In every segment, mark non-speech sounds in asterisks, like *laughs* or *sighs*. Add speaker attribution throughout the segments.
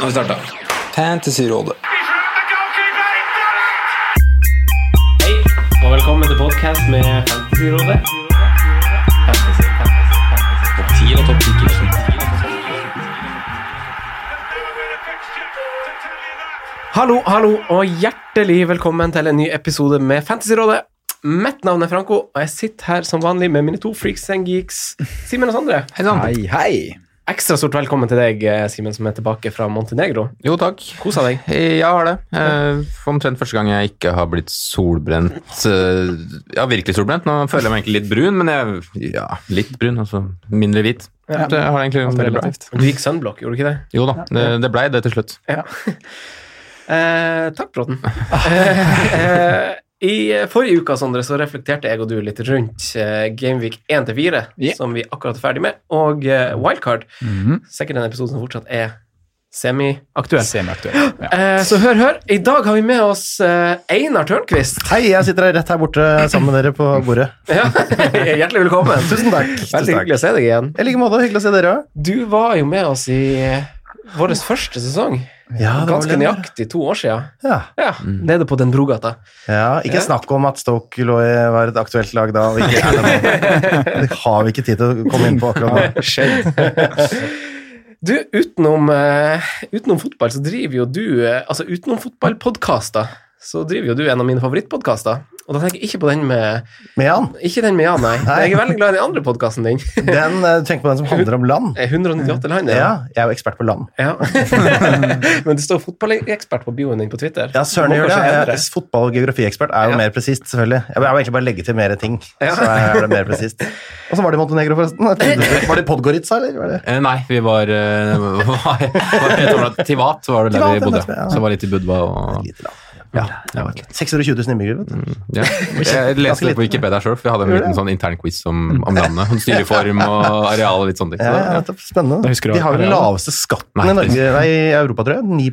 Speaker 1: har vi starta.
Speaker 2: Fantasyrådet.
Speaker 3: Hei, og velkommen til podcast med Fantasyrådet. Fantasy, fantasy, fantasy. Topp 10 og topp 10. Hallo, hallo, og hjertelig velkommen til en ny episode med Fantasyrådet. Mitt navn er Franco, og jeg sitter her som vanlig med mine to freaks and geeks, Simen og Sondre.
Speaker 1: Hei sann.
Speaker 2: Hei, hei.
Speaker 3: Ekstra stort velkommen til deg, eh, Simen, som er tilbake fra Montenegro.
Speaker 1: Jo, takk.
Speaker 3: Kosa deg.
Speaker 1: Jeg har det. Eh, for omtrent første gang jeg ikke har blitt solbrent. eh, Ja, virkelig solbrent. Nå føler jeg meg egentlig litt brun, men jeg Ja, litt brun, altså mindre hvit. Så jeg har det egentlig veldig bra.
Speaker 3: Du gikk sunblock, gjorde du ikke det?
Speaker 1: Jo da, det, det blei det til slutt.
Speaker 3: Ja. Eh, takk, Bråten. Eh, eh, I forrige uke Sondre, så reflekterte jeg og du litt rundt eh, Gameweek 1-4,
Speaker 2: Yeah.
Speaker 3: som vi akkurat er ferdig med, og eh, Wildcard.
Speaker 4: Mhm.
Speaker 3: Sikkert en episode som fortsatt er semiaktuell.
Speaker 2: Semiaktuell. Ja.
Speaker 3: *gasps* Eh, så hør, hør. I dag har vi med oss eh, Einar
Speaker 4: *laughs*
Speaker 3: Tørnquist.
Speaker 4: Hei, jeg sitter her rett her borte sammen med dere på bordet.
Speaker 3: Ja. Hjertelig velkommen.
Speaker 4: Tusen takk.
Speaker 3: Veldig hyggelig å se deg igjen.
Speaker 4: I like måte. Hyggelig å se dere òg.
Speaker 3: Du var jo med oss i eh, vår første sesong.
Speaker 4: Ja, det Mm. var
Speaker 3: Ganske
Speaker 4: vel det.
Speaker 3: nøyaktig to år siden.
Speaker 4: Ja.
Speaker 3: Ja, Nede på Den Brogata.
Speaker 4: ja, ikke
Speaker 3: Ja.
Speaker 4: snakk om at Stoke lå i, var et aktuelt lag da. Og ikke er det, nå. det har vi ikke tid til å komme inn på akkurat nå.
Speaker 3: *laughs* Du, utenom, eh, utenom fotball, så driver jo du eh, Altså utenom fotballpodkaster, så driver jo du en av mine favorittpodkaster. Og da tenker jeg ikke på den med
Speaker 4: Med Jan,
Speaker 3: Ikke den med Jan, nei.
Speaker 4: Nei.
Speaker 3: Jeg er veldig glad i den andre podkasten din.
Speaker 4: den, eh, du tenker på den som handler om land?
Speaker 3: Eh, 198 land,
Speaker 4: Ja,
Speaker 3: ja.
Speaker 4: jeg er jo ekspert på land.
Speaker 3: ja. *laughs* Men det står fotballekspert på bioen din på Twitter.
Speaker 4: Ja, søren
Speaker 3: Du må
Speaker 4: gjør det.
Speaker 3: kanskje
Speaker 4: Jeg
Speaker 3: endre.
Speaker 4: er Fotball- og geografiekspert er jo
Speaker 3: Ja.
Speaker 4: mer presist, selvfølgelig. Jeg må jeg må egentlig bare legge til mer ting,
Speaker 3: Ja.
Speaker 4: så er det mer
Speaker 3: *laughs*
Speaker 4: presist. Og så var det i Montenegro, forresten. Var det i Podgorica, eller? Var det?
Speaker 1: Eh, nei, vi var, eh, *laughs* hva var det var det Tivat var det der
Speaker 4: Tivat,
Speaker 1: vi
Speaker 4: ja,
Speaker 1: bodde.
Speaker 4: det tror jeg, ja.
Speaker 1: Så det var litt i Budva og
Speaker 4: Lite land.
Speaker 1: Ja, det var litt
Speaker 4: 620 000 innbyggere, vet du.
Speaker 1: Ja. Jeg leste det på Wikipedia sjøl, for vi hadde en liten sånn intern quiz om, om landet. om Styreform og areal og litt sånne ting.
Speaker 4: Ja,
Speaker 1: Så,
Speaker 4: ja,
Speaker 1: ja.
Speaker 4: nettopp. Spennende.
Speaker 2: Da husker du
Speaker 4: De har jo den
Speaker 2: arealet.
Speaker 4: laveste skatten
Speaker 1: Nei,
Speaker 4: i Norge, nei, i Europa, tror jeg. 9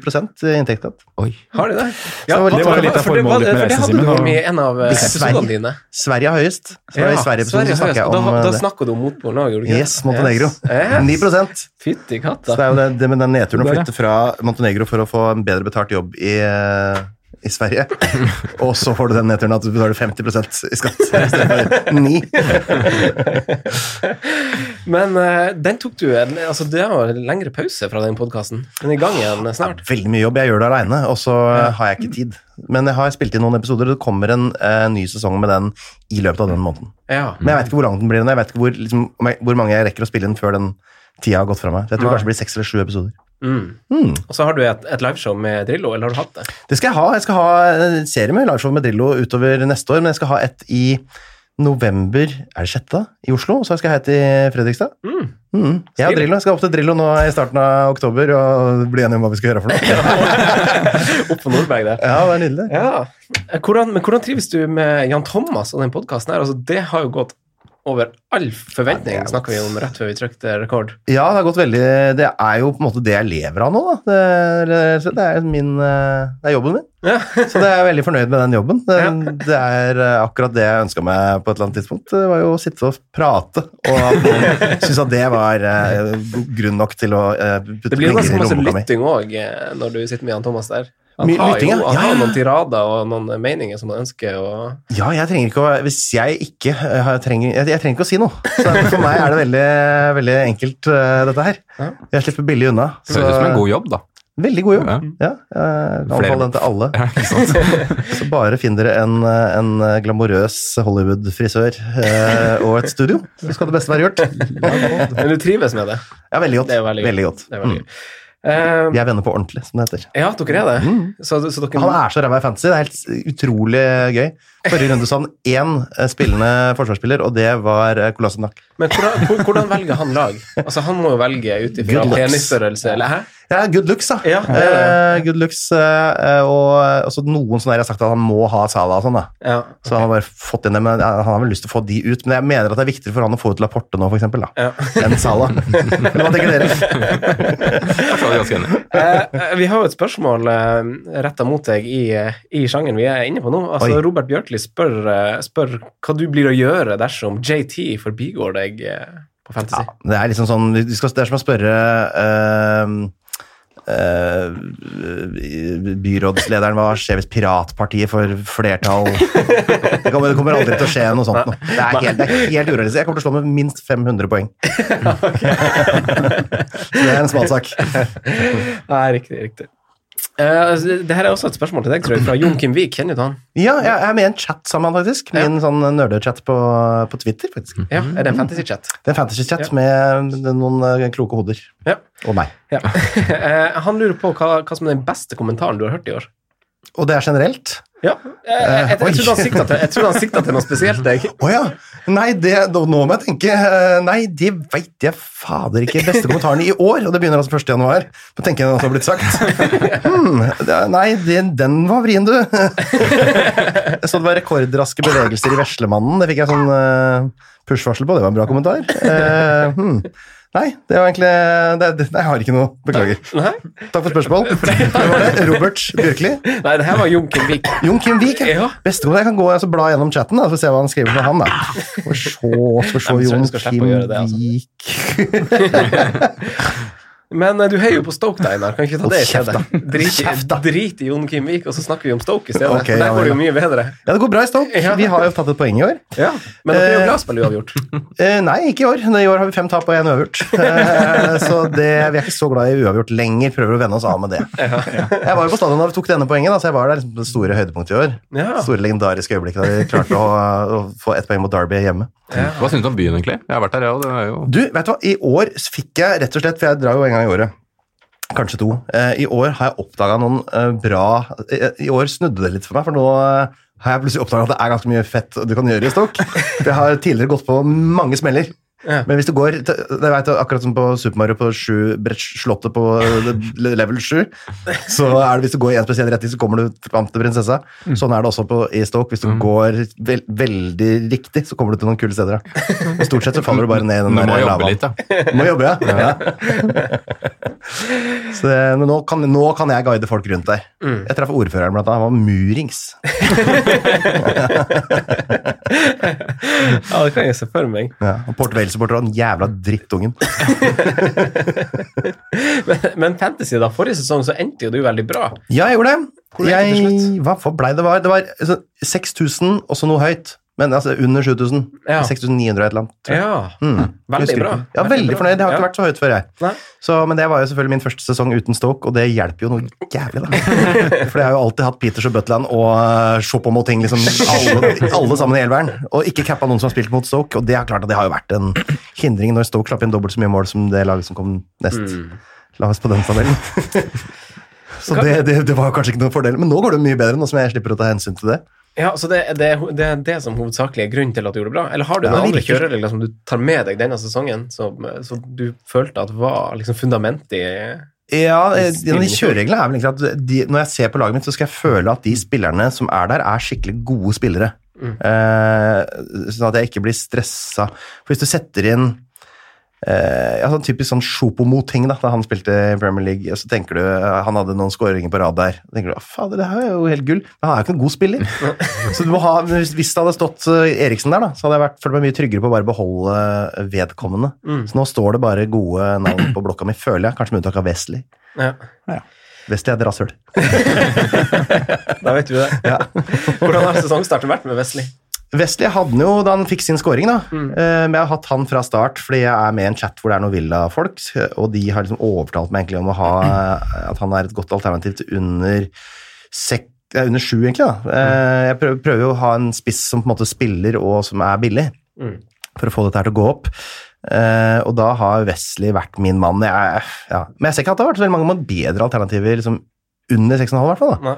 Speaker 4: inntektsskatt.
Speaker 1: Oi.
Speaker 3: Har de det?
Speaker 4: det var litt- det var
Speaker 2: litt av
Speaker 3: for
Speaker 2: formålet
Speaker 3: var- For
Speaker 2: med
Speaker 3: det
Speaker 2: reisen,
Speaker 3: hadde du
Speaker 2: Simen, og-
Speaker 3: om i en av eh,
Speaker 4: I Sverige.
Speaker 3: episodene dine.
Speaker 4: Sverige har høyest. Så var det I Sverige-episoden
Speaker 3: Sverige
Speaker 4: så snakker jeg
Speaker 3: har-
Speaker 4: om eh,
Speaker 3: da, da
Speaker 4: det.
Speaker 3: snakka du om motpolen òg, gjorde du ikke? det?
Speaker 4: Yes, Montenegro.
Speaker 3: Yes. Yes.
Speaker 4: 9 Så
Speaker 3: Fytti
Speaker 4: det
Speaker 3: katta.
Speaker 4: er jo det, det med den nedturen å
Speaker 2: Der, ja.
Speaker 4: flytte fra Montenegro for å få en bedre betalt jobb i, eh, i Sverige. *laughs* Og så får du den nedturen at du betaler 50 i skatt istedenfor 9
Speaker 3: Men eh, den tok du en- altså Det var en lengre pause fra den podkasten. Den er i gang igjen snart.
Speaker 4: Veldig mye jobb. Jeg gjør det aleine, og så eh, har jeg ikke tid. Men jeg har spilt inn noen episoder, og det kommer en eh, ny sesong med den i løpet av den måneden.
Speaker 3: Ja.
Speaker 4: Men jeg vet ikke hvor lang den blir. og Jeg vet ikke hvor, liksom, om jeg, hvor mange jeg rekker å spille inn før den tida har gått fra meg. Så jeg tror
Speaker 3: Nei.
Speaker 4: kanskje det blir seks eller sju episoder.
Speaker 3: Mm.
Speaker 4: Hmm.
Speaker 3: Og så har du et, et liveshow med Drillo, eller har du hatt det?
Speaker 4: Det skal jeg ha. Jeg skal ha en serie med liveshow med Drillo utover neste år, men jeg skal ha et i november Er det sjette, da? I Oslo. Og så skal jeg ha et i Fredrikstad.
Speaker 3: Mm.
Speaker 4: Mm. Jeg, og
Speaker 3: Stilig.
Speaker 4: Drillo. jeg skal opp til Drillo nå i starten av oktober og bli enige om hva vi skal gjøre for noe.
Speaker 3: Opp på Nordberg der.
Speaker 4: Ja, det er nydelig.
Speaker 3: Ja. Eh, Hvordan, men hvordan trives du med Jan Thomas og den podkasten her? Altså, det har jo gått over all forventning,
Speaker 4: Ja, det er-
Speaker 3: snakka vi om rett før vi trykte rekord.
Speaker 4: Ja, det har gått veldig Det er jo på en måte det jeg lever av nå, da. Det er, det er, min, eh, det er jobben min.
Speaker 3: Ja.
Speaker 4: *laughs* Så det er jeg veldig fornøyd med den jobben. Det,
Speaker 3: Ja.
Speaker 4: det er eh, akkurat det jeg ønska meg på et eller annet tidspunkt. Det var jo å sitte og prate, og at noen
Speaker 3: *laughs*
Speaker 4: syntes at det var eh, grunn nok til å eh, putte
Speaker 3: Det blir jo
Speaker 4: penger
Speaker 3: ganske
Speaker 4: i
Speaker 3: masse
Speaker 4: lommeboka mi.
Speaker 3: lytting òg når du sitter med Jan Thomas der. Han
Speaker 4: Mye
Speaker 3: har
Speaker 4: lytting,
Speaker 3: jo,
Speaker 4: ja.
Speaker 3: han har jo
Speaker 4: Ja, ja.
Speaker 3: noen tirader og noen eh, meninger som han ønsker å
Speaker 4: Ja, jeg trenger ikke å Hvis jeg ikke eh, har- trenger Jeg, jeg trenger ikke å si noe. Så for meg er det veldig, veldig enkelt, eh, dette her.
Speaker 3: Ja.
Speaker 4: Jeg slipper billig unna.
Speaker 1: Det høres ut som en god jobb, da.
Speaker 4: Veldig god jobb.
Speaker 1: Ja.
Speaker 4: Ja, jeg anbefaler den til alle.
Speaker 1: *laughs* Ja, ikke sant?
Speaker 4: *laughs* Så bare finn dere en, eh, en eh, glamorøs Hollywood-frisør eh, og et studio, så skal det beste være gjort.
Speaker 3: Men du trives med det?
Speaker 4: Ja, veldig godt.
Speaker 3: Det er veldig
Speaker 4: veldig,
Speaker 3: godt.
Speaker 4: godt.
Speaker 3: Det er veldig
Speaker 4: Mm.
Speaker 3: gøy. Eh,
Speaker 4: Vi er venner på ordentlig, som det heter.
Speaker 3: Ja, dere er det. Så, så dere
Speaker 4: Han er så ræva i fantasy. Det er helt s- utrolig gøy. Forrige runde så han én eh, spillende forsvarsspiller, og det var eh, Kolasinac.
Speaker 3: Men hvordan, hvor- hvordan velger han lag? Altså, Han må jo velge ut ifra
Speaker 4: Good looks.
Speaker 3: penisstørrelse, eller hæ?
Speaker 4: Ja, good looks, da.
Speaker 3: Ja, det er
Speaker 4: Eh, good looks, eh, eh, og eh, også noen sånne der jeg har sagt at han må ha Salah og sånn, da.
Speaker 3: Ja.
Speaker 4: Så han har bare fått inn det, men ja, han har vel lyst til å få de ut. Men jeg mener at det er viktigere for han å få ut Laporte nå, for eksempel, da.
Speaker 3: Ja.
Speaker 4: *laughs* enn Salah. Hva tenker dere?
Speaker 1: Jeg er ganske enig.
Speaker 3: Eh, eh, vi har jo et spørsmål eh, retta mot deg i, eh, i sjangeren vi er inne på nå. Altså,
Speaker 4: Oi.
Speaker 3: Robert Bjørkli spør, eh, spør hva du blir å gjøre dersom JT forbigår deg eh, på Fantasy.
Speaker 4: Det er liksom sånn, vi skal, det er som å spørre eh, eh, byrådslederen var, skjer hvis piratpartiet får flertall det kommer, det kommer aldri til å skje noe sånt nå. Det er helt, det er helt urealistisk. Jeg kommer til å slå med minst 500 poeng. Så det er en smalsak.
Speaker 3: Nei, riktig, riktig. Eh, det her er også et spørsmål til deg, tror jeg, fra Jon Kim Vik. Kjenner du han?
Speaker 4: Ja, jeg er med i en chat sammen, faktisk. Min sånn nerdechat på, på Twitter, faktisk.
Speaker 3: Ja, Er det en
Speaker 4: Mm.
Speaker 3: fantasy-chat?
Speaker 4: Det er en fantasy-chat med noen eh, kloke hoder.
Speaker 3: Ja.
Speaker 4: Og meg.
Speaker 3: ja. *laughs* Eh, han lurer på hva, hva som er den beste kommentaren du har hørt i år.
Speaker 4: Og det er generelt.
Speaker 3: Ja, eh, jeg, jeg,
Speaker 4: Eh, oi.
Speaker 3: jeg, trodde han sikta til, jeg trodde han sikta til noe spesielt, jeg.
Speaker 4: Å ja! Nei, det, nå nå må jeg tenke. eh, Nei, det veit jeg fader ikke. Beste kommentaren i år, og det begynner altså 1. januar. Må tenke den har blitt sagt. Hmm, det, er- nei, det, den var vrien, du. Jeg så det var rekordraske bevegelser i Veslemannen. Det fikk jeg sånn eh, push-varsel på. Det var en bra kommentar. Eh, hmm. Nei, det var egentlig det, det, nei, jeg har ikke noe. Beklager.
Speaker 3: Nei,
Speaker 4: Takk for spørsmål. Det var det. Robert Bjørkli.
Speaker 3: Nei det her var Jon Kim Vik.
Speaker 4: Jon Kim Vik. ja.
Speaker 3: Ja.
Speaker 4: Beste kommentar. Jeg kan gå og altså, bla gjennom chatten da, for å se hva han skriver for han. da. Og se, skal se
Speaker 3: Jeg tror
Speaker 4: Jon
Speaker 3: du skal slippe å
Speaker 4: Kim
Speaker 3: gjøre det, altså.
Speaker 4: Vik
Speaker 3: Men eh, du heier jo på Stoke, da, Einar. Kan ikke vi ta det i
Speaker 4: Hold
Speaker 3: stedet? Drit,
Speaker 4: Kjeft, da.
Speaker 3: i- drit i Jon Kim Vik, og så snakker vi om Stoke i stedet.
Speaker 4: Ok,
Speaker 3: for
Speaker 4: ja
Speaker 3: der går
Speaker 4: vel,
Speaker 3: det jo mye bedre.
Speaker 4: Ja, det går bra i Stoke.
Speaker 3: Ja.
Speaker 4: Vi har jo tatt et poeng i år.
Speaker 3: Ja, Men dere er
Speaker 4: Eh,
Speaker 3: jo glad spill uavgjort.
Speaker 4: Eh, nei, ikke i år. I år har vi fem tap og én uavgjort. Eh, så det, vi er ikke så glad i uavgjort lenger. Prøver å vende oss av med det. Jeg var jo på stadion da vi tok denne poenget, da, så jeg var der liksom, på det store høydepunktet i år. *laughs*
Speaker 3: Ja.
Speaker 4: Store legendariske øyeblikk da vi klarte å, å få ett poeng mot Derby hjemme.
Speaker 1: Hva syns du om byen, egentlig? Jeg har vært der, jeg òg. Det er jo
Speaker 4: Du, vet du hva? I år fikk jeg rett og slett, for jeg drar jo en gang i året, kanskje to, eh, i år har jeg oppdaga noen eh, bra eh, I år snudde det litt for meg, for nå eh, har jeg plutselig oppdaga at det er ganske mye fett du kan gjøre
Speaker 1: *laughs*
Speaker 4: i stokk. For jeg har tidligere gått på mange smeller.
Speaker 3: Ja.
Speaker 4: Men hvis du går til, det vet du, Akkurat som på Super Mario på sju, brett- slottet på eh, level 7, så er det hvis du går i en spesiell retning, så kommer du fram til prinsessa.
Speaker 1: Mm.
Speaker 4: Sånn er det også på, i Stoke. Hvis du går vel, veldig riktig, så kommer du til noen kule
Speaker 1: *laughs*
Speaker 4: steder. da. Og stort sett så faller du bare ned
Speaker 1: Du
Speaker 4: i den
Speaker 1: må
Speaker 4: der
Speaker 1: jobbe
Speaker 4: lavaen.
Speaker 1: litt, da.
Speaker 4: Må jobbe, ja. ja. *laughs* Så det, men nå kan, nå kan jeg guide folk rundt der.
Speaker 3: Mm.
Speaker 4: Jeg traff ordføreren blant annet. Han var murings.
Speaker 3: Ja, det kan jeg se for meg.
Speaker 4: Ja. Og Port Vale-supporter og den jævla drittungen.
Speaker 3: Men, men Fantasy, da. Forrige sesong så endte jo du veldig bra.
Speaker 4: Ja, jeg gjorde det.
Speaker 3: Hvor gikk det til
Speaker 4: Jeg, hva for blei det var? Det var altså, 6000 og så noe høyt. Men altså under 7000.
Speaker 3: Ja.
Speaker 4: 6900 og et eller annet. tror jeg.
Speaker 3: Ja.
Speaker 4: Mm.
Speaker 3: Veldig
Speaker 4: Husker
Speaker 3: bra.
Speaker 4: ikke. Ja, veldig
Speaker 3: bra.
Speaker 4: fornøyd. Det har
Speaker 3: Ja.
Speaker 4: ikke vært så høyt før, jeg.
Speaker 3: Nei.
Speaker 4: Så, men det var jo selvfølgelig min første sesong uten Stoke, og det hjelper jo noe jævlig, da.
Speaker 3: *laughs*
Speaker 4: For jeg har jo alltid hatt Peters og Butland og eh, Chopin og ting, liksom alle, alle sammen i elveren. Og ikke cappa noen som har spilt mot Stoke, og det er klart at det har jo vært en hindring når Stoke slapp inn dobbelt så mye mål som det laget som kom nest.
Speaker 3: Mm.
Speaker 4: lavest på
Speaker 3: *laughs*
Speaker 4: den tabellen. Så det, det, det var jo kanskje ikke noen fordel, men nå går det jo mye bedre, nå som jeg slipper å ta hensyn til det.
Speaker 3: Ja, Så det, det, det er det som hovedsakelig er grunnen til at du gjorde det bra? Eller har du
Speaker 4: Ja,
Speaker 3: noen andre
Speaker 4: virkelig.
Speaker 3: kjøreregler som du tar med deg denne sesongen, som, som du følte at var liksom fundamentet i
Speaker 4: Ja, eh,
Speaker 3: Hvis
Speaker 4: en av de
Speaker 3: spillerne-
Speaker 4: kjørereglene er vel egentlig at de, når jeg ser på laget mitt, så skal jeg føle at de spillerne som er der, er skikkelig gode spillere. Eh, sånn at jeg ikke blir stressa. For hvis du setter inn eh, ja, sånn typisk sånn Sjopomo-ting, da da han spilte i Premier League, og så tenker du eh, han hadde noen skåringer på rad der. Da tenker du «Å, fader, det her er jo helt gull, men han er jo ikke noen god spiller. så du må ha, hvis, hvis det hadde stått eh, Eriksen der, da, så hadde jeg vært, følt meg mye tryggere på å bare beholde vedkommende. Så nå står det bare gode navn på blokka mi, føler jeg, kanskje med unntak av Wesley.
Speaker 3: ja.
Speaker 4: Vestli er et rasshøl.
Speaker 3: Da vet vi det. Hvordan har sesongstarten vært med Wesley?
Speaker 4: Vestli hadde den jo da han fikk sin scoring, da.
Speaker 3: Mm.
Speaker 4: Eh, Men jeg har hatt han fra start fordi jeg er med i en chat hvor det er noen Villa-folk, og de har liksom overtalt meg egentlig om å ha eh, at han er et godt alternativ til under sek eh, under sju, egentlig.
Speaker 3: Mm.
Speaker 4: da. Eh, Jeg prøver, prøver jo å ha en spiss som på en måte spiller og som er billig,
Speaker 3: Mm.
Speaker 4: for å få dette her til å gå opp. Eh, og da har Wesley vært min mann. Jeg, ja. Men jeg ser ikke at det har vært så veldig mange bedre alternativer liksom, under 6,5, i hvert fall. da.
Speaker 3: Nei.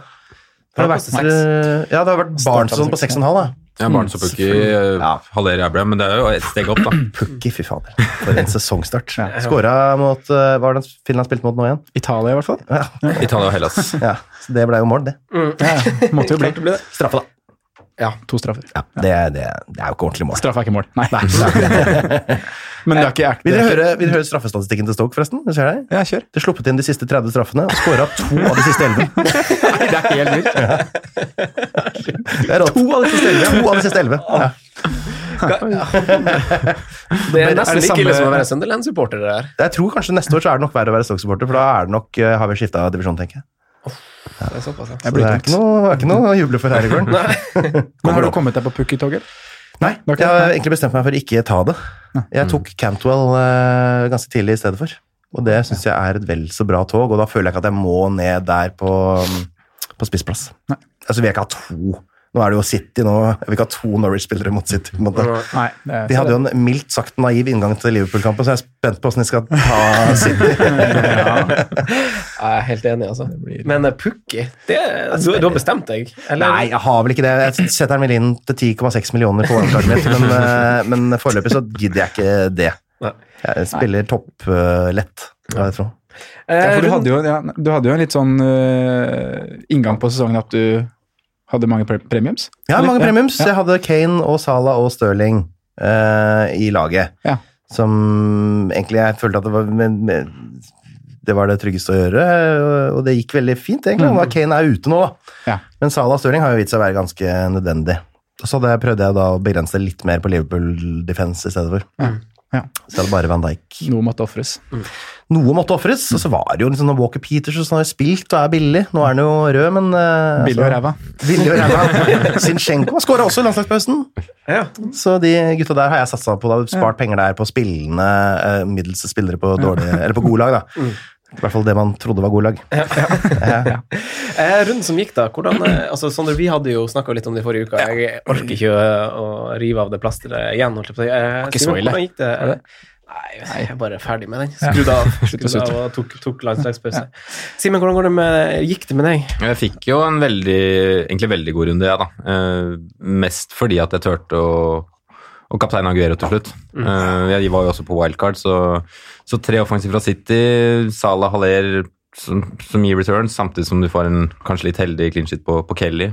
Speaker 4: Det har vært, eh, ja, det har vært Barnson på 6,5, da.
Speaker 1: Ja, Barents og Pukki eh, halverer jævla, men det er jo et steg opp, da.
Speaker 4: Pukki, fy fader. For
Speaker 2: *laughs*
Speaker 4: en sesongstart. Skåra mot eh, Hva var det Finland spilte mot nå igjen?
Speaker 2: Italia, i hvert fall.
Speaker 4: Ja,
Speaker 1: Italia og Hellas.
Speaker 4: *laughs* ja. Så det ble jo mål, det.
Speaker 2: Ja, måtte jo bli.
Speaker 3: Klart det ble det.
Speaker 4: Straffe, da.
Speaker 2: To straffer.
Speaker 4: Det, det, det er jo ikke ordentlig mål.
Speaker 2: Straff er ikke mål. Nei. *laughs* Men det er ikke
Speaker 4: Vil dere
Speaker 2: det er ikke-
Speaker 4: høre, vil dere høre straffestatistikken til Stoke, forresten? Hvis jeg er der?
Speaker 2: Ja, kjør.
Speaker 4: De har sluppet inn de siste 30 straffene og skåra to av de siste
Speaker 2: *laughs*
Speaker 4: 11.
Speaker 2: Nei, det er helt vilt.
Speaker 4: Det er rått. To av de siste 11? Ja.
Speaker 3: Det er
Speaker 4: Men er
Speaker 3: nesten
Speaker 2: det
Speaker 3: like
Speaker 2: samme-
Speaker 3: ille som å være Sunderland-supporter, det der.
Speaker 4: Jeg tror kanskje neste år så er det nok verre å være Stoke-supporter, for da er det nok, eh, har vi skifta divisjon, tenker jeg.
Speaker 3: Det er såpass, ja.
Speaker 4: Så
Speaker 2: Det
Speaker 4: det
Speaker 2: blir
Speaker 4: er
Speaker 2: tungt.
Speaker 4: ikke noe, er ikke noe å juble for her
Speaker 1: *laughs*
Speaker 4: i gården.
Speaker 2: Men har du kommet deg på pukkeltoget?
Speaker 4: Nei, Mm.
Speaker 2: Ok.
Speaker 4: jeg har egentlig bestemt meg for å ikke ta det. Jeg tok Cantwell eh, ganske tidlig i stedet for. Og det syns jeg er et vel så bra tog, og da føler jeg ikke at jeg må ned der på, mm, på spissplass.
Speaker 2: Nei.
Speaker 4: Altså, vi vil ikke ha to. Nå er det jo City nå. Jeg vil ikke ha to Norwich-spillere mot City. på en måte.
Speaker 2: Nei. det er-
Speaker 4: De hadde jo en mildt sagt naiv inngang til Liverpool-kampen, så jeg er spent på åssen de skal *laughs* ta City.
Speaker 3: Jeg er helt enig, altså. Men eh, Pukki, det, altså, du, du har bestemt deg? Eller?
Speaker 4: Nei, jeg har vel ikke det. Jeg setter den vel inn til 10,6 millioner på OneCard mitt, men, eh, men foreløpig så gidder jeg ikke det.
Speaker 3: Nei.
Speaker 4: Jeg spiller topp eh, lett, hva jeg tror.
Speaker 3: Eh,
Speaker 2: Ja, for du
Speaker 3: rundt-
Speaker 2: hadde jo, ja, du hadde jo en litt sånn øh, inngang på sesongen at du hadde mange pre premiums.
Speaker 4: Ja,
Speaker 2: Eller-
Speaker 4: mange premiums.
Speaker 2: Ja.
Speaker 4: Jeg hadde Kane og Salah og Sterling eh, i laget.
Speaker 2: Ja.
Speaker 4: Som egentlig jeg følte at det var men, men, det var det tryggeste å gjøre, og det gikk veldig fint, egentlig. Mm. Kane er ute nå, da.
Speaker 2: Ja.
Speaker 4: Men Salah og Stirling har jo vist seg å være ganske nødvendig. Og Så det prøvde jeg da å begrense det litt mer på Liverpool defense i stedet for.
Speaker 2: Ja.
Speaker 4: Så det er bare Van Dijk.
Speaker 2: Noe måtte ofres.
Speaker 4: Noe måtte ofres, og så var det jo liksom Walker Peters som har spilt og er billig. Nå er han jo rød, men eh,
Speaker 2: Billig og
Speaker 4: altså-
Speaker 2: ræva.
Speaker 4: Billig og
Speaker 2: *laughs*
Speaker 4: ræva. Zinchenko har skåra også i landslagspausen.
Speaker 3: ja.
Speaker 4: Så de gutta der har jeg satsa på. Da. Spart penger der på spillende eh, middels spillere på, dårlige, eller på gode lag. Da. I hvert fall det man trodde var gode lag.
Speaker 3: Eh, runden som gikk, da. Hvordan, eh, altså, Sondre, vi hadde jo snakka litt om det i forrige uke. Jeg orker ikke å, å rive av det plasteret igjen. Holdt jeg på. å si. Eh,
Speaker 2: ikke
Speaker 3: Simen,
Speaker 2: så ille.
Speaker 3: Hvordan gikk det?
Speaker 2: det?
Speaker 3: Nei, jeg er bare ferdig med den. Skrudd av, skrudd
Speaker 2: å
Speaker 3: av og tok, tok landslagspause. Simen, hvordan går det med, gikk det med deg?
Speaker 1: Jeg fikk jo en veldig, egentlig veldig god runde, ja da. Eh, mest fordi at jeg turte å og kaptein Aguero til slutt. Eh, jeg var jo også på wildcard, så, så tre offensiv fra City, Salah Haller som, som gir returns, samtidig som du får en kanskje litt heldig clean shit på, på Kelly.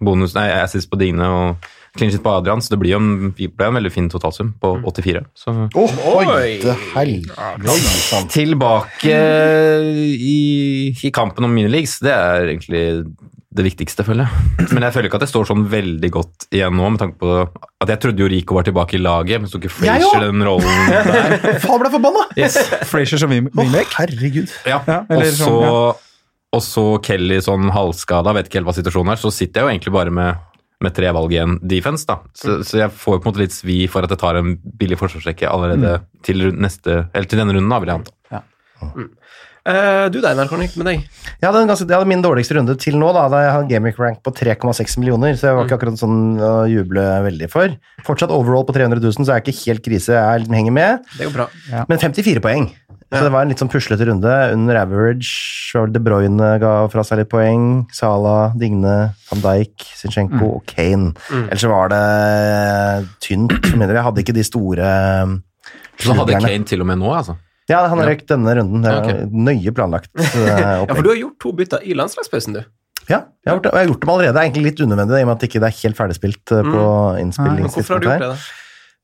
Speaker 1: Bonus, nei, assist på Dine og clean shit på Adrian, så det blir jo en, det ble en veldig fin totalsum på 84. Så
Speaker 3: oi, til
Speaker 1: tilbake i, i kampen om minileagues, det er egentlig det viktigste, føler jeg. Men jeg føler ikke at jeg står sånn veldig godt igjen nå, med tanke på at jeg trodde jo Rico var tilbake i laget, men så tok ikke
Speaker 4: Jeg
Speaker 1: Frazier den rollen der.
Speaker 4: Faen, ble jeg forbanna!
Speaker 1: Yes.
Speaker 2: Frazier som ving-
Speaker 4: Å,
Speaker 2: wingback.
Speaker 4: herregud.
Speaker 1: Ja.
Speaker 2: *laughs* Ja, eller
Speaker 1: og
Speaker 2: sånn, ja.
Speaker 1: så- og så Kelly sånn halvskada, vet ikke helt hva situasjonen er. Så sitter jeg jo egentlig bare med, med tre valg igjen defense, da. Så, så jeg får jo på en måte litt svi for at jeg tar en billig forsvarsrekke allerede
Speaker 2: Mm.
Speaker 1: til, rund- neste, eller til denne runden, da, vil jeg anta.
Speaker 3: Eh, du Deinar, hvordan gikk det med deg?
Speaker 4: Jeg hadde, en ganske, jeg hadde min dårligste runde til nå. Da, da jeg hadde Gameweek rank på 3,6 millioner, så jeg var ikke akkurat sånn å juble veldig for. Fortsatt overall på 300 000, så jeg er ikke helt krise. Jeg er- henger med.
Speaker 3: Det går bra.
Speaker 4: Men 54 poeng. Så det var en litt sånn puslete runde. Under average var det De Bruyne ga fra seg litt poeng. Sala, Digne, van Dijk, Zinchenko
Speaker 3: Mm.
Speaker 4: og Kane. Ellers så var det tynt. for min del. Jeg hadde ikke de store
Speaker 1: Så hadde
Speaker 4: slugerne.
Speaker 1: Kane til og med nå, altså.
Speaker 4: Ja, han røyk denne runden. Det var
Speaker 1: Ja,
Speaker 4: Nøye
Speaker 3: *laughs*
Speaker 4: planlagt. eh,
Speaker 3: Ja,
Speaker 4: opplegg.
Speaker 3: for du har gjort to bytter i landslagspausen, du.
Speaker 4: Ja, jeg har gjort det, og jeg har gjort dem allerede. Det er egentlig litt unødvendig, i og med at det ikke er helt ferdigspilt eh, på
Speaker 3: Mm. Men
Speaker 4: innspillingstidspunktet.
Speaker 3: hvorfor har du
Speaker 4: her.
Speaker 3: gjort det? da?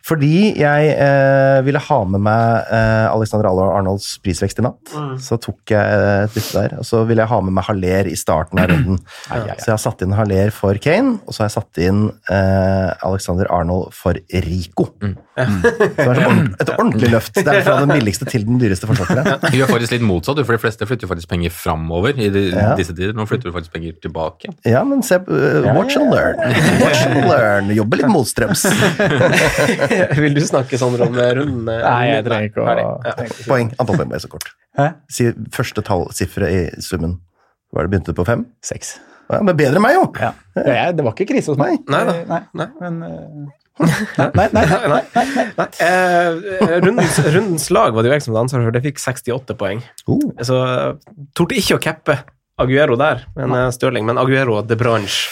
Speaker 4: Fordi jeg eh, ville ha med meg eh, Alexander Arnolds prisvekst i natt. Så tok jeg eh, et bytte der. Og så ville jeg ha med meg Haller i starten av runden. Så jeg har satt inn Haller for Kane, og så har jeg satt inn eh, Alexander Arnold for Rico. Så det er så ordent- et ordentlig løft. Det er fra den billigste til den dyreste forsvareren.
Speaker 1: Du gjør faktisk litt motsatt, du, for de fleste flytter jo faktisk penger framover i de,
Speaker 4: Ja.
Speaker 1: disse tider. Nå flytter du faktisk penger tilbake.
Speaker 4: Ja, men se på- eh, Watch and learn. Watch and learn. Jobbe litt motstrøms.
Speaker 3: *laughs* Vil du snakke, Sondre, om eh, runden? eh,
Speaker 2: Nei, jeg trenger ikke
Speaker 3: ferdig?
Speaker 2: å
Speaker 3: Ja.
Speaker 4: Poeng. Antall poeng ble så kort.
Speaker 2: Hæ?
Speaker 4: Si første tallsifferet i summen. Var det begynte det på fem?
Speaker 2: Seks.
Speaker 4: Ja, men bedre enn meg, jo!
Speaker 2: Ja. Det, er- det var ikke krise hos meg.
Speaker 3: Nei da.
Speaker 2: Eh, Nei,
Speaker 3: Nei.
Speaker 2: Men, eh, nei, nei, nei, nei, nei, nei.
Speaker 3: Nei, eh, rundens, *laughs* rundens lag var det jo jeg som hadde ansvaret for. Det fikk 68 poeng.
Speaker 4: Oh.
Speaker 3: Så eh, torde ikke å cappe Aguero der, men eh, Stirling. Men Aguero og De Branche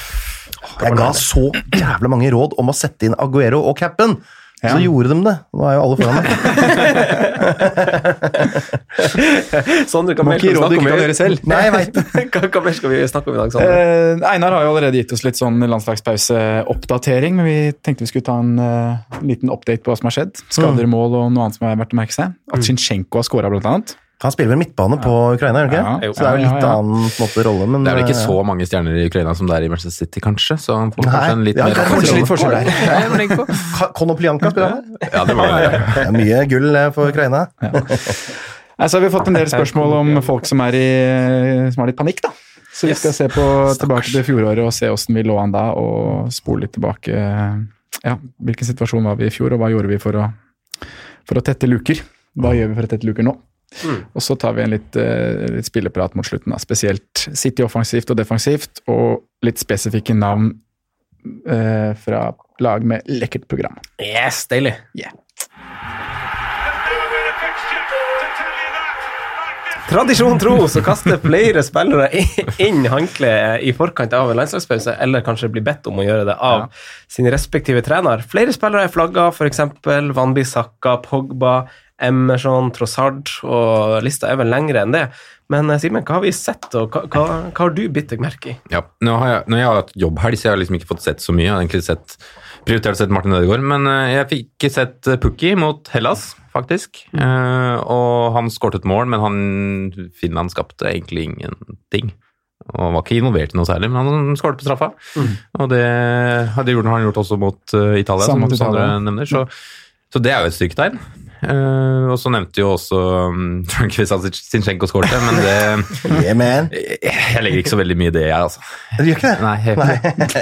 Speaker 4: Jeg ga så jævla mange råd om å sette inn Aguero og capen. Så gjorde de det. Nå er jo alle foran
Speaker 2: *laughs*
Speaker 4: meg.
Speaker 3: Sondre, hva
Speaker 2: Må
Speaker 3: mer
Speaker 2: ikke gi
Speaker 3: skal vi snakke om
Speaker 2: råd du ikke kan
Speaker 3: i-
Speaker 2: gjøre selv.
Speaker 3: *laughs*
Speaker 4: Nei, jeg vet det.
Speaker 3: Hva, hva mer skal vi snakke om i dag, Sondre?
Speaker 2: Eh, Einar har jo allerede gitt oss litt sånn landslagspauseoppdatering, men vi tenkte vi skulle ta en eh, liten update på hva som har skjedd. Skader, mål og noe annet som har vært å merke seg. At Zinchenko har skåra, blant annet.
Speaker 4: For han spiller vel midtbane på Ukraina, gjør han ikke?
Speaker 2: Ja.
Speaker 4: Så det er jo
Speaker 2: Ja, ja,
Speaker 4: litt
Speaker 2: ja.
Speaker 4: annen på en måte, rolle, men
Speaker 1: Det er vel ikke så mange stjerner i Ukraina som det er i Manchester City, kanskje? Så han får kanskje en litt
Speaker 4: Ja,
Speaker 1: mer
Speaker 4: kanskje
Speaker 1: offensiv
Speaker 4: litt forskjell
Speaker 3: *laughs*
Speaker 4: der.
Speaker 1: rolle.
Speaker 4: eh, Ka- Konoplyanka spiller
Speaker 2: *laughs*
Speaker 4: han der.
Speaker 1: Ja, det må være det.
Speaker 4: Det er mye gull eh, for Ukraina.
Speaker 2: Nei, så har vi fått en del spørsmål om folk som er i som har litt panikk, da. Så vi skal se på tilbake til fjoråret og se åssen vi lå an da, og spole litt tilbake. Ja, hvilken situasjon var vi i fjor, og hva gjorde vi for å, for å tette luker? Hva gjør vi for å tette luker nå? Og så tar vi en litt, eh, litt spilleprat mot slutten, da. spesielt City offensivt og defensivt, og litt spesifikke navn eh, fra lag med lekkert program.
Speaker 3: Yes, deilig. Tradisjon tro så kaster flere spillere i- inn håndkleet i forkant av en landslagspause, eller kanskje blir bedt om å gjøre det av sin respektive trener. Flere spillere er flagga, f.eks. Wanbi Sakka, Pogba, Emerson, Trossard, og lista er vel lengre enn det. Men eh, Simen, hva har vi sett, og hva, hva, hva har du bitt deg merke i?
Speaker 1: Ja. Nå har jeg, når jeg har hatt jobbhelg, så jeg har liksom ikke fått sett så mye. Jeg har egentlig sett, prioritert å sett Martin Ødegaard, men eh, jeg fikk ikke sett eh, Pukki mot Hellas, faktisk.
Speaker 2: Mm.
Speaker 1: Eh, og han skåret et mål, men han, Finland skapte egentlig ingenting. Og var ikke involvert i noe særlig, men han skåret på straffa.
Speaker 2: Mm.
Speaker 1: Og det har det gjort, har han gjort også mot eh, Italia,
Speaker 2: Samme mot
Speaker 1: som Sandre
Speaker 2: Italia.
Speaker 1: nevner. Så, så det er jo et styrketegn. Eh, og så nevnte jo også um, *laughs* Trunkvist Sinchenko skårte, men
Speaker 2: *laughs*
Speaker 1: det,
Speaker 4: Yeah, man.
Speaker 1: jeg, jeg legger ikke så veldig mye i det, jeg, altså.
Speaker 4: Du gjør ikke det?
Speaker 1: Nei, jeg,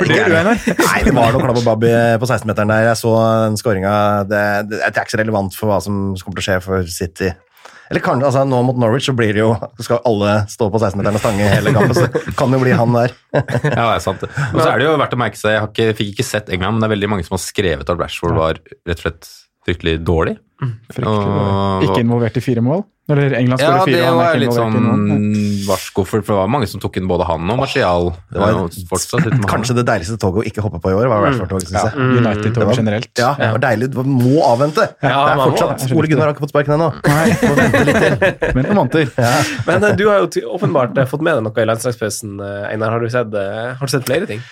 Speaker 4: Nei, det var noe klabb og babb i- på 16-meteren der. Jeg så den skåringa. Det, det, det er ikke så relevant for hva som kommer til å skje for City. Eller kan, altså, Nå mot Norwich så blir det jo Skal alle stå på 16-meteren og stange hele kampen, så kan det jo bli han der.
Speaker 1: Ja, det er sant. det. Og så er det jo verdt å merke seg, jeg har ikke, fikk ikke sett England, men det er veldig mange som har skrevet at Rashford var rett og slett fryktelig dårlig.
Speaker 2: Fryktelig.
Speaker 1: Åh.
Speaker 2: Ikke involvert i fire mål? Eller England
Speaker 1: Ja,
Speaker 2: skårer
Speaker 1: det
Speaker 2: fire, og han
Speaker 1: var
Speaker 2: er ikke
Speaker 1: litt
Speaker 2: involvert
Speaker 1: sånn
Speaker 2: i noen.
Speaker 1: varsko, for for det var mange som tok inn både han og Martial. Det var jo fortsatt litt med han.
Speaker 4: Kanskje det deiligste toget å ikke hoppe på i år, var Rashford-toget, syns jeg.
Speaker 2: United
Speaker 4: Det
Speaker 2: over
Speaker 4: var-
Speaker 2: generelt.
Speaker 4: Ja, det var deilig. Du må avvente. det er
Speaker 3: man må
Speaker 4: fortsatt
Speaker 2: det.
Speaker 4: Ole Gunnar har ikke fått sparken ennå. Må vente litt til.
Speaker 2: Men noen måneder.
Speaker 3: Men eh, du har jo ty- åpenbart eh, fått med deg noe i landslagspausen, eh, Einar. Har du sett, eh, har du sett flere ting?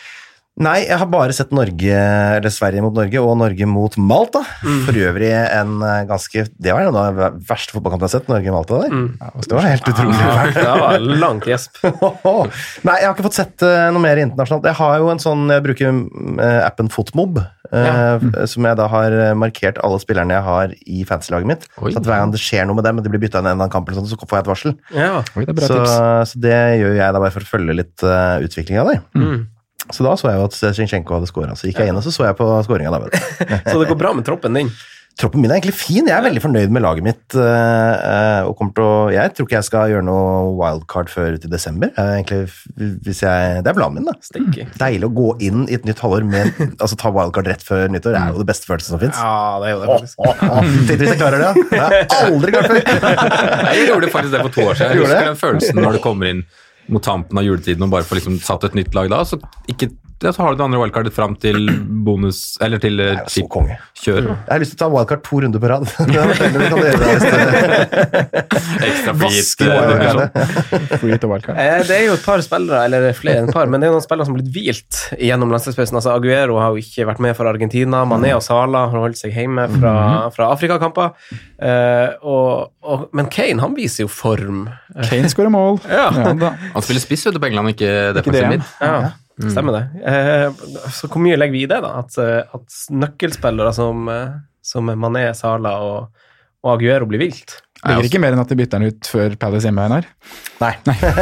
Speaker 4: Nei, jeg har bare sett Norge, eller Sverige mot Norge og Norge mot Malta. For øvrig en eh, ganske Det var en av de verste fotballkampene jeg har sett. Norge-Malta der. Det var helt utrolig fælt.
Speaker 3: Det var langt gjesp.
Speaker 4: *laughs* Nei, jeg har ikke fått sett eh, noe mer internasjonalt. Jeg har jo en sånn, jeg bruker mm, eh, appen Fotmob, eh,
Speaker 3: Ja.
Speaker 4: f- som jeg da har eh, markert alle spillerne jeg har i fantasy-laget mitt.
Speaker 1: Oi.
Speaker 4: Så at hver gang det skjer noe med dem, og de blir bytta inn i en eller annen kamp, eller sånn, så får jeg et varsel.
Speaker 3: Ja.
Speaker 2: *laughs* Oi, det er bra
Speaker 4: Så,
Speaker 2: tips.
Speaker 4: så det gjør jeg da bare for å følge litt uh, utviklinga der.
Speaker 3: Mm.
Speaker 4: Så da så jeg jo at Zinchenko hadde scora, så gikk jeg inn og så så jeg på scoringa. da, vet du.
Speaker 3: Så det går bra med troppen din.
Speaker 4: Troppen min er egentlig fin. Jeg er veldig fornøyd med laget mitt. eh, eh, og kommer til å, Jeg tror ikke jeg skal gjøre noe wildcard før til desember. Jeg er egentlig, f- hvis jeg, det er planen min, da.
Speaker 3: Stinky.
Speaker 4: Deilig å gå inn i et nytt halvår med *laughs* altså ta wildcard rett før nyttår. Det er jo det beste følelsen som fins.
Speaker 3: Ja, det er jo det,
Speaker 4: Åh,
Speaker 3: faktisk.
Speaker 4: åh, åh. Tenk hvis jeg klarer det, ja. Det har jeg aldri klart før.
Speaker 3: *laughs*
Speaker 1: Jeg gjorde faktisk det for to år siden. Jeg
Speaker 4: Gjorde
Speaker 1: husker
Speaker 4: det?
Speaker 1: den følelsen når du kommer inn mot tampen av juletiden og bare får liksom satt et nytt lag da, så, ikke, ja, så har du det andre wildcardet fram til bonus, eller til eh,
Speaker 4: Så konge.
Speaker 1: kjør.
Speaker 4: Jeg har lyst til å ta wildcard to runder på rad. *laughs* Det er veldig mye kan gjøre det hvis det-
Speaker 1: Ekstra frigitt.
Speaker 4: Vaske
Speaker 1: eh,
Speaker 4: wildcardet.
Speaker 2: Free to wildcard.
Speaker 3: Eh, Det er jo et par spillere, eller flere enn et par, men det er jo noen spillere som har blitt hvilt gjennom landslagspausen. Altså, Aguero har jo ikke vært med for Argentina. Mané og Sala har holdt seg hjemme fra, fra Afrikakamper. Eh, og, og, men Kane, han viser jo form. *laughs*
Speaker 2: Kane skårer mål.
Speaker 3: Ja.
Speaker 2: da.
Speaker 1: Han spiller spiss vet du, på England, ikke
Speaker 2: det,
Speaker 1: defensiv
Speaker 2: ja.
Speaker 1: midt.
Speaker 3: Ja, stemmer det. Eh, så hvor mye legger vi i det, da? At, eh, at nøkkelspillere som, eh, som Mané, Sala og, og Aguero blir vilt?
Speaker 1: Jeg
Speaker 2: Ligger ikke mer enn at de bytter den ut før Palace hjemme, Einar.
Speaker 4: Nei.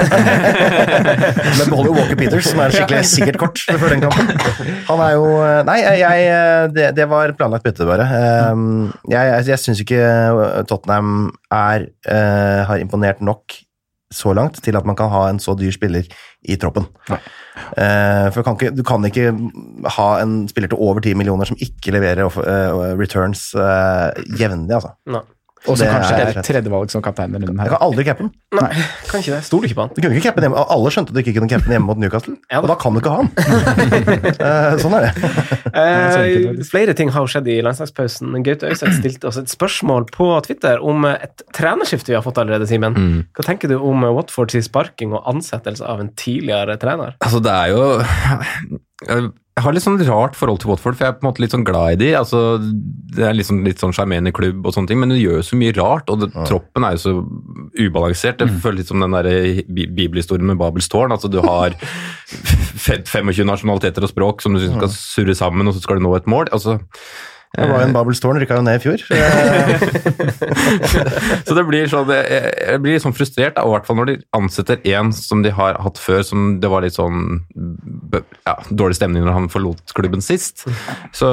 Speaker 4: *laughs* Men beholder jo Walker Peters, som er et skikkelig sikkert kort før den kampen. Han er jo eh, Nei, jeg, jeg- det, det var et planlagt bytte, bare. Um, Jeg, jeg, jeg syns ikke eh, Tottenham er, eh, har imponert nok så langt til at man kan ha en så dyr spiller i troppen. Eh, For kan ikke, Du kan ikke ha en spiller til over 10 millioner som ikke leverer off, eh, returns eh, jevnlig, altså.
Speaker 3: Nei,
Speaker 2: Og så
Speaker 4: Det
Speaker 2: kanskje
Speaker 4: er-
Speaker 2: det er tredjevalg som kaptein i runden
Speaker 4: Jeg
Speaker 2: her.
Speaker 4: kan aldri cappe den.
Speaker 3: Nei. kan ikke det. Stoler ikke på han.
Speaker 4: Du kunne ikke cappe den hjemme. Alle skjønte at du ikke kunne cappe den hjemme mot Newcastle,
Speaker 3: Ja da.
Speaker 4: og da kan du ikke ha den. *laughs* Eh, sånn er det.
Speaker 2: så enkelt
Speaker 3: Eh,
Speaker 2: er det.
Speaker 3: flere ting har jo skjedd i landslagspausen. Gaute Øyseth stilte oss et spørsmål på Twitter om et trenerskifte vi har fått allerede, Simen. Hva tenker du om Watfords sparking og ansettelse av en tidligere trener?
Speaker 1: Altså, det er jo Jeg har litt sånn rart forhold til Watford, for jeg er på en måte litt sånn glad i de. Altså, det er liksom litt sånn sjarmerende klubb og sånne ting, men det gjør jo så mye rart. Og det, troppen er jo så ubalansert. Det føles litt som den der eh, bi- bibelhistorien med Babels tårn. Altså, du har fe- 25 nasjonaliteter og språk som du synes skal surre sammen, og så skal du nå et mål. Altså,
Speaker 4: Det var jo en Babels tårn, rykka jo ned i fjor.
Speaker 1: Så det blir sånn, jeg, jeg blir litt sånn frustrert, da, og i hvert fall når de ansetter en som de har hatt før, som det var litt sånn b- ja, dårlig stemning når han forlot klubben sist. Så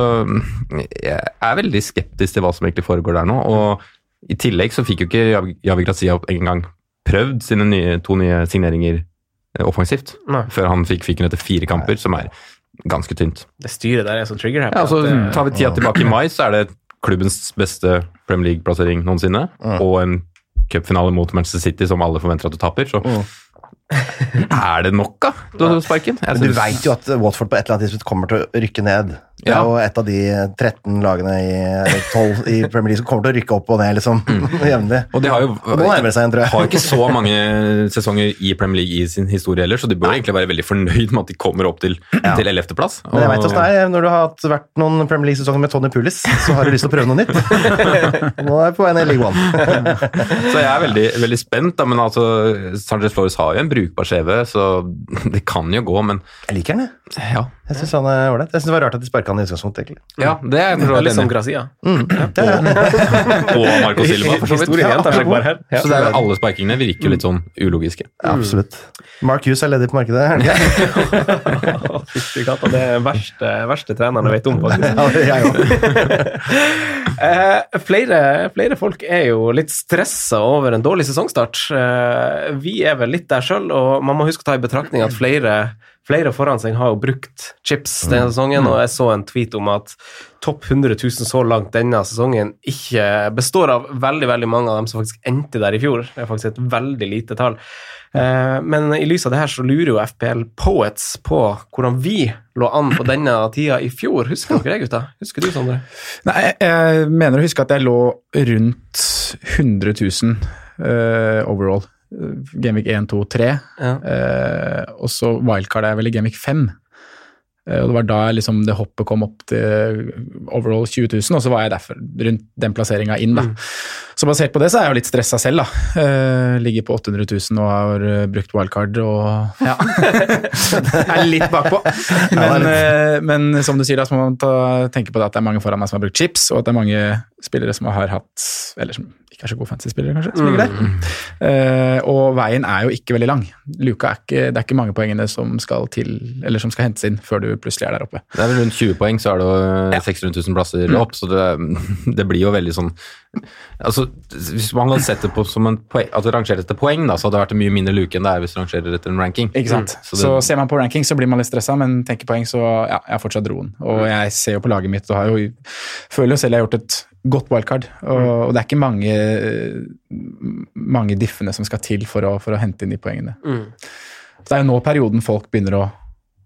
Speaker 1: jeg er veldig skeptisk til hva som egentlig foregår der nå. Og i tillegg så fikk jo ikke Javi- Javi Grazia engang prøvd sine nye, to nye signeringer eh, offensivt,
Speaker 3: Nei.
Speaker 1: før han fikk fyken etter fire kamper, som er ganske tynt.
Speaker 3: Det styret der er sånn trigger happy.
Speaker 1: Ja, altså,
Speaker 3: at det-
Speaker 1: tar vi tida tilbake i mai, så er det klubbens beste Premier League-plassering noensinne. Og en cupfinale mot Manchester City som alle forventer at du taper. Så er det nok, da? Du har sparken? Jeg
Speaker 4: Mm. Men du
Speaker 1: synes-
Speaker 4: veit jo at Watford på et eller annet tidspunkt kommer til å rykke ned. Det er
Speaker 1: Ja.
Speaker 4: jo et av de 13 lagene i, eller 12 i Premier League som kommer til å rykke opp og ned liksom, *laughs* jevnlig.
Speaker 1: Og de har jo
Speaker 4: Og nå nærmer det seg en, tror jeg.
Speaker 1: har jo ikke så mange sesonger i Premier League i sin historie heller, så de bør egentlig være veldig fornøyd med at de kommer opp til, til 11. plass.
Speaker 4: Men jeg
Speaker 1: Og-
Speaker 4: vet hvordan det er. Når du har hatt- vært noen Premier League-sesonger med Tony Pulis, så har du lyst til å prøve
Speaker 3: *laughs*
Speaker 4: noe nytt. Nå er jeg på vei ned i League One.
Speaker 1: Så jeg er veldig, veldig spent, da, men altså, Sanchez Flores har jo en brukbar CV, så det kan jo gå, men
Speaker 4: Jeg liker han, jeg.
Speaker 1: ja.
Speaker 4: Jeg syns han er ålreit. Jeg synes det var rart at de sparka han i utgangspunktet, egentlig.
Speaker 1: ja det er jeg for så
Speaker 3: Det er
Speaker 1: vidt
Speaker 3: litt sånn som
Speaker 1: enig i.
Speaker 3: Grazia.
Speaker 1: Og Marco Silva, for så vidt.
Speaker 3: Historien gjentar seg bare her. Ja.
Speaker 1: Så det er jo alle sparkingene virker jo litt sånn ulogiske.
Speaker 2: Mm.
Speaker 4: Ja, absolutt. Mark Hughes er ledig på markedet. er han
Speaker 2: *laughs*
Speaker 4: ikke?
Speaker 3: Å, *laughs* Fytti katta, det er den verste, verste treneren jeg vet om, faktisk.
Speaker 4: Ja, jeg òg.
Speaker 3: Eh, flere, flere folk er jo litt stressa over en dårlig sesongstart. Eh, vi er vel litt der sjøl, og man må huske å ta i betraktning at flere, flere foran seg har jo brukt chips denne sesongen, og jeg så en tweet om at topp 100 000 så langt denne sesongen ikke består av veldig, veldig mange av dem som faktisk endte der i fjor. Det er faktisk et veldig lite tall. Eh, Men i lys av det her så lurer jo FPL Poets på hvordan vi lå an på denne tida i fjor. Husker dere det, gutta? Husker du, Sondre?
Speaker 2: Nei, jeg, jeg mener å huske at jeg lå rundt 100 000 eh, overall. Eh, Genvik 1, 2, 3.
Speaker 3: Ja.
Speaker 2: eh, og så wildcard er jeg vel i Genvik 5. Eh, og det var da jeg liksom det hoppet kom opp til overall 20 000, og så var jeg derfor rundt den plasseringa inn, da. Så basert på det så er jeg jo litt stressa selv, da. Eh, ligger på 800 000 og har eh, brukt wildcard og ja. *laughs* er litt bakpå. Men, eh, men som du sier, da, så må man ta, tenke på det at det er mange foran meg som har brukt chips, og at det er mange spillere som har hatt Eller som ikke er så gode fantasy-spillere, kanskje. som ligger der. Eh, og veien er jo ikke veldig lang. Luka er ikke, det er ikke mange poengene som skal til, eller som skal hentes inn før du plutselig er der oppe.
Speaker 1: Det er vel rundt 20 poeng, så er det jo eh, 600 000 plasser opp, så det, det blir jo veldig sånn Altså, hvis man hadde sett det på som en poeng, at det rangerer etter poeng, da, så hadde det vært en mye mindre luke enn det er hvis det rangerer etter en ranking. Mm.
Speaker 2: Ikke sant?
Speaker 1: Så
Speaker 2: Så,
Speaker 1: det-
Speaker 2: ser man på ranking, så blir man litt stressa, men tenker poeng, så ja, jeg har fortsatt roen.
Speaker 1: Mm.
Speaker 2: Og jeg ser jo på laget mitt og har jo, føler jo selv jeg har gjort et godt wildcard. Og,
Speaker 1: Mm.
Speaker 2: og det er ikke mange, mange diffene som skal til for å, for å hente inn de poengene.
Speaker 1: Mm.
Speaker 2: Så det er jo nå perioden folk begynner å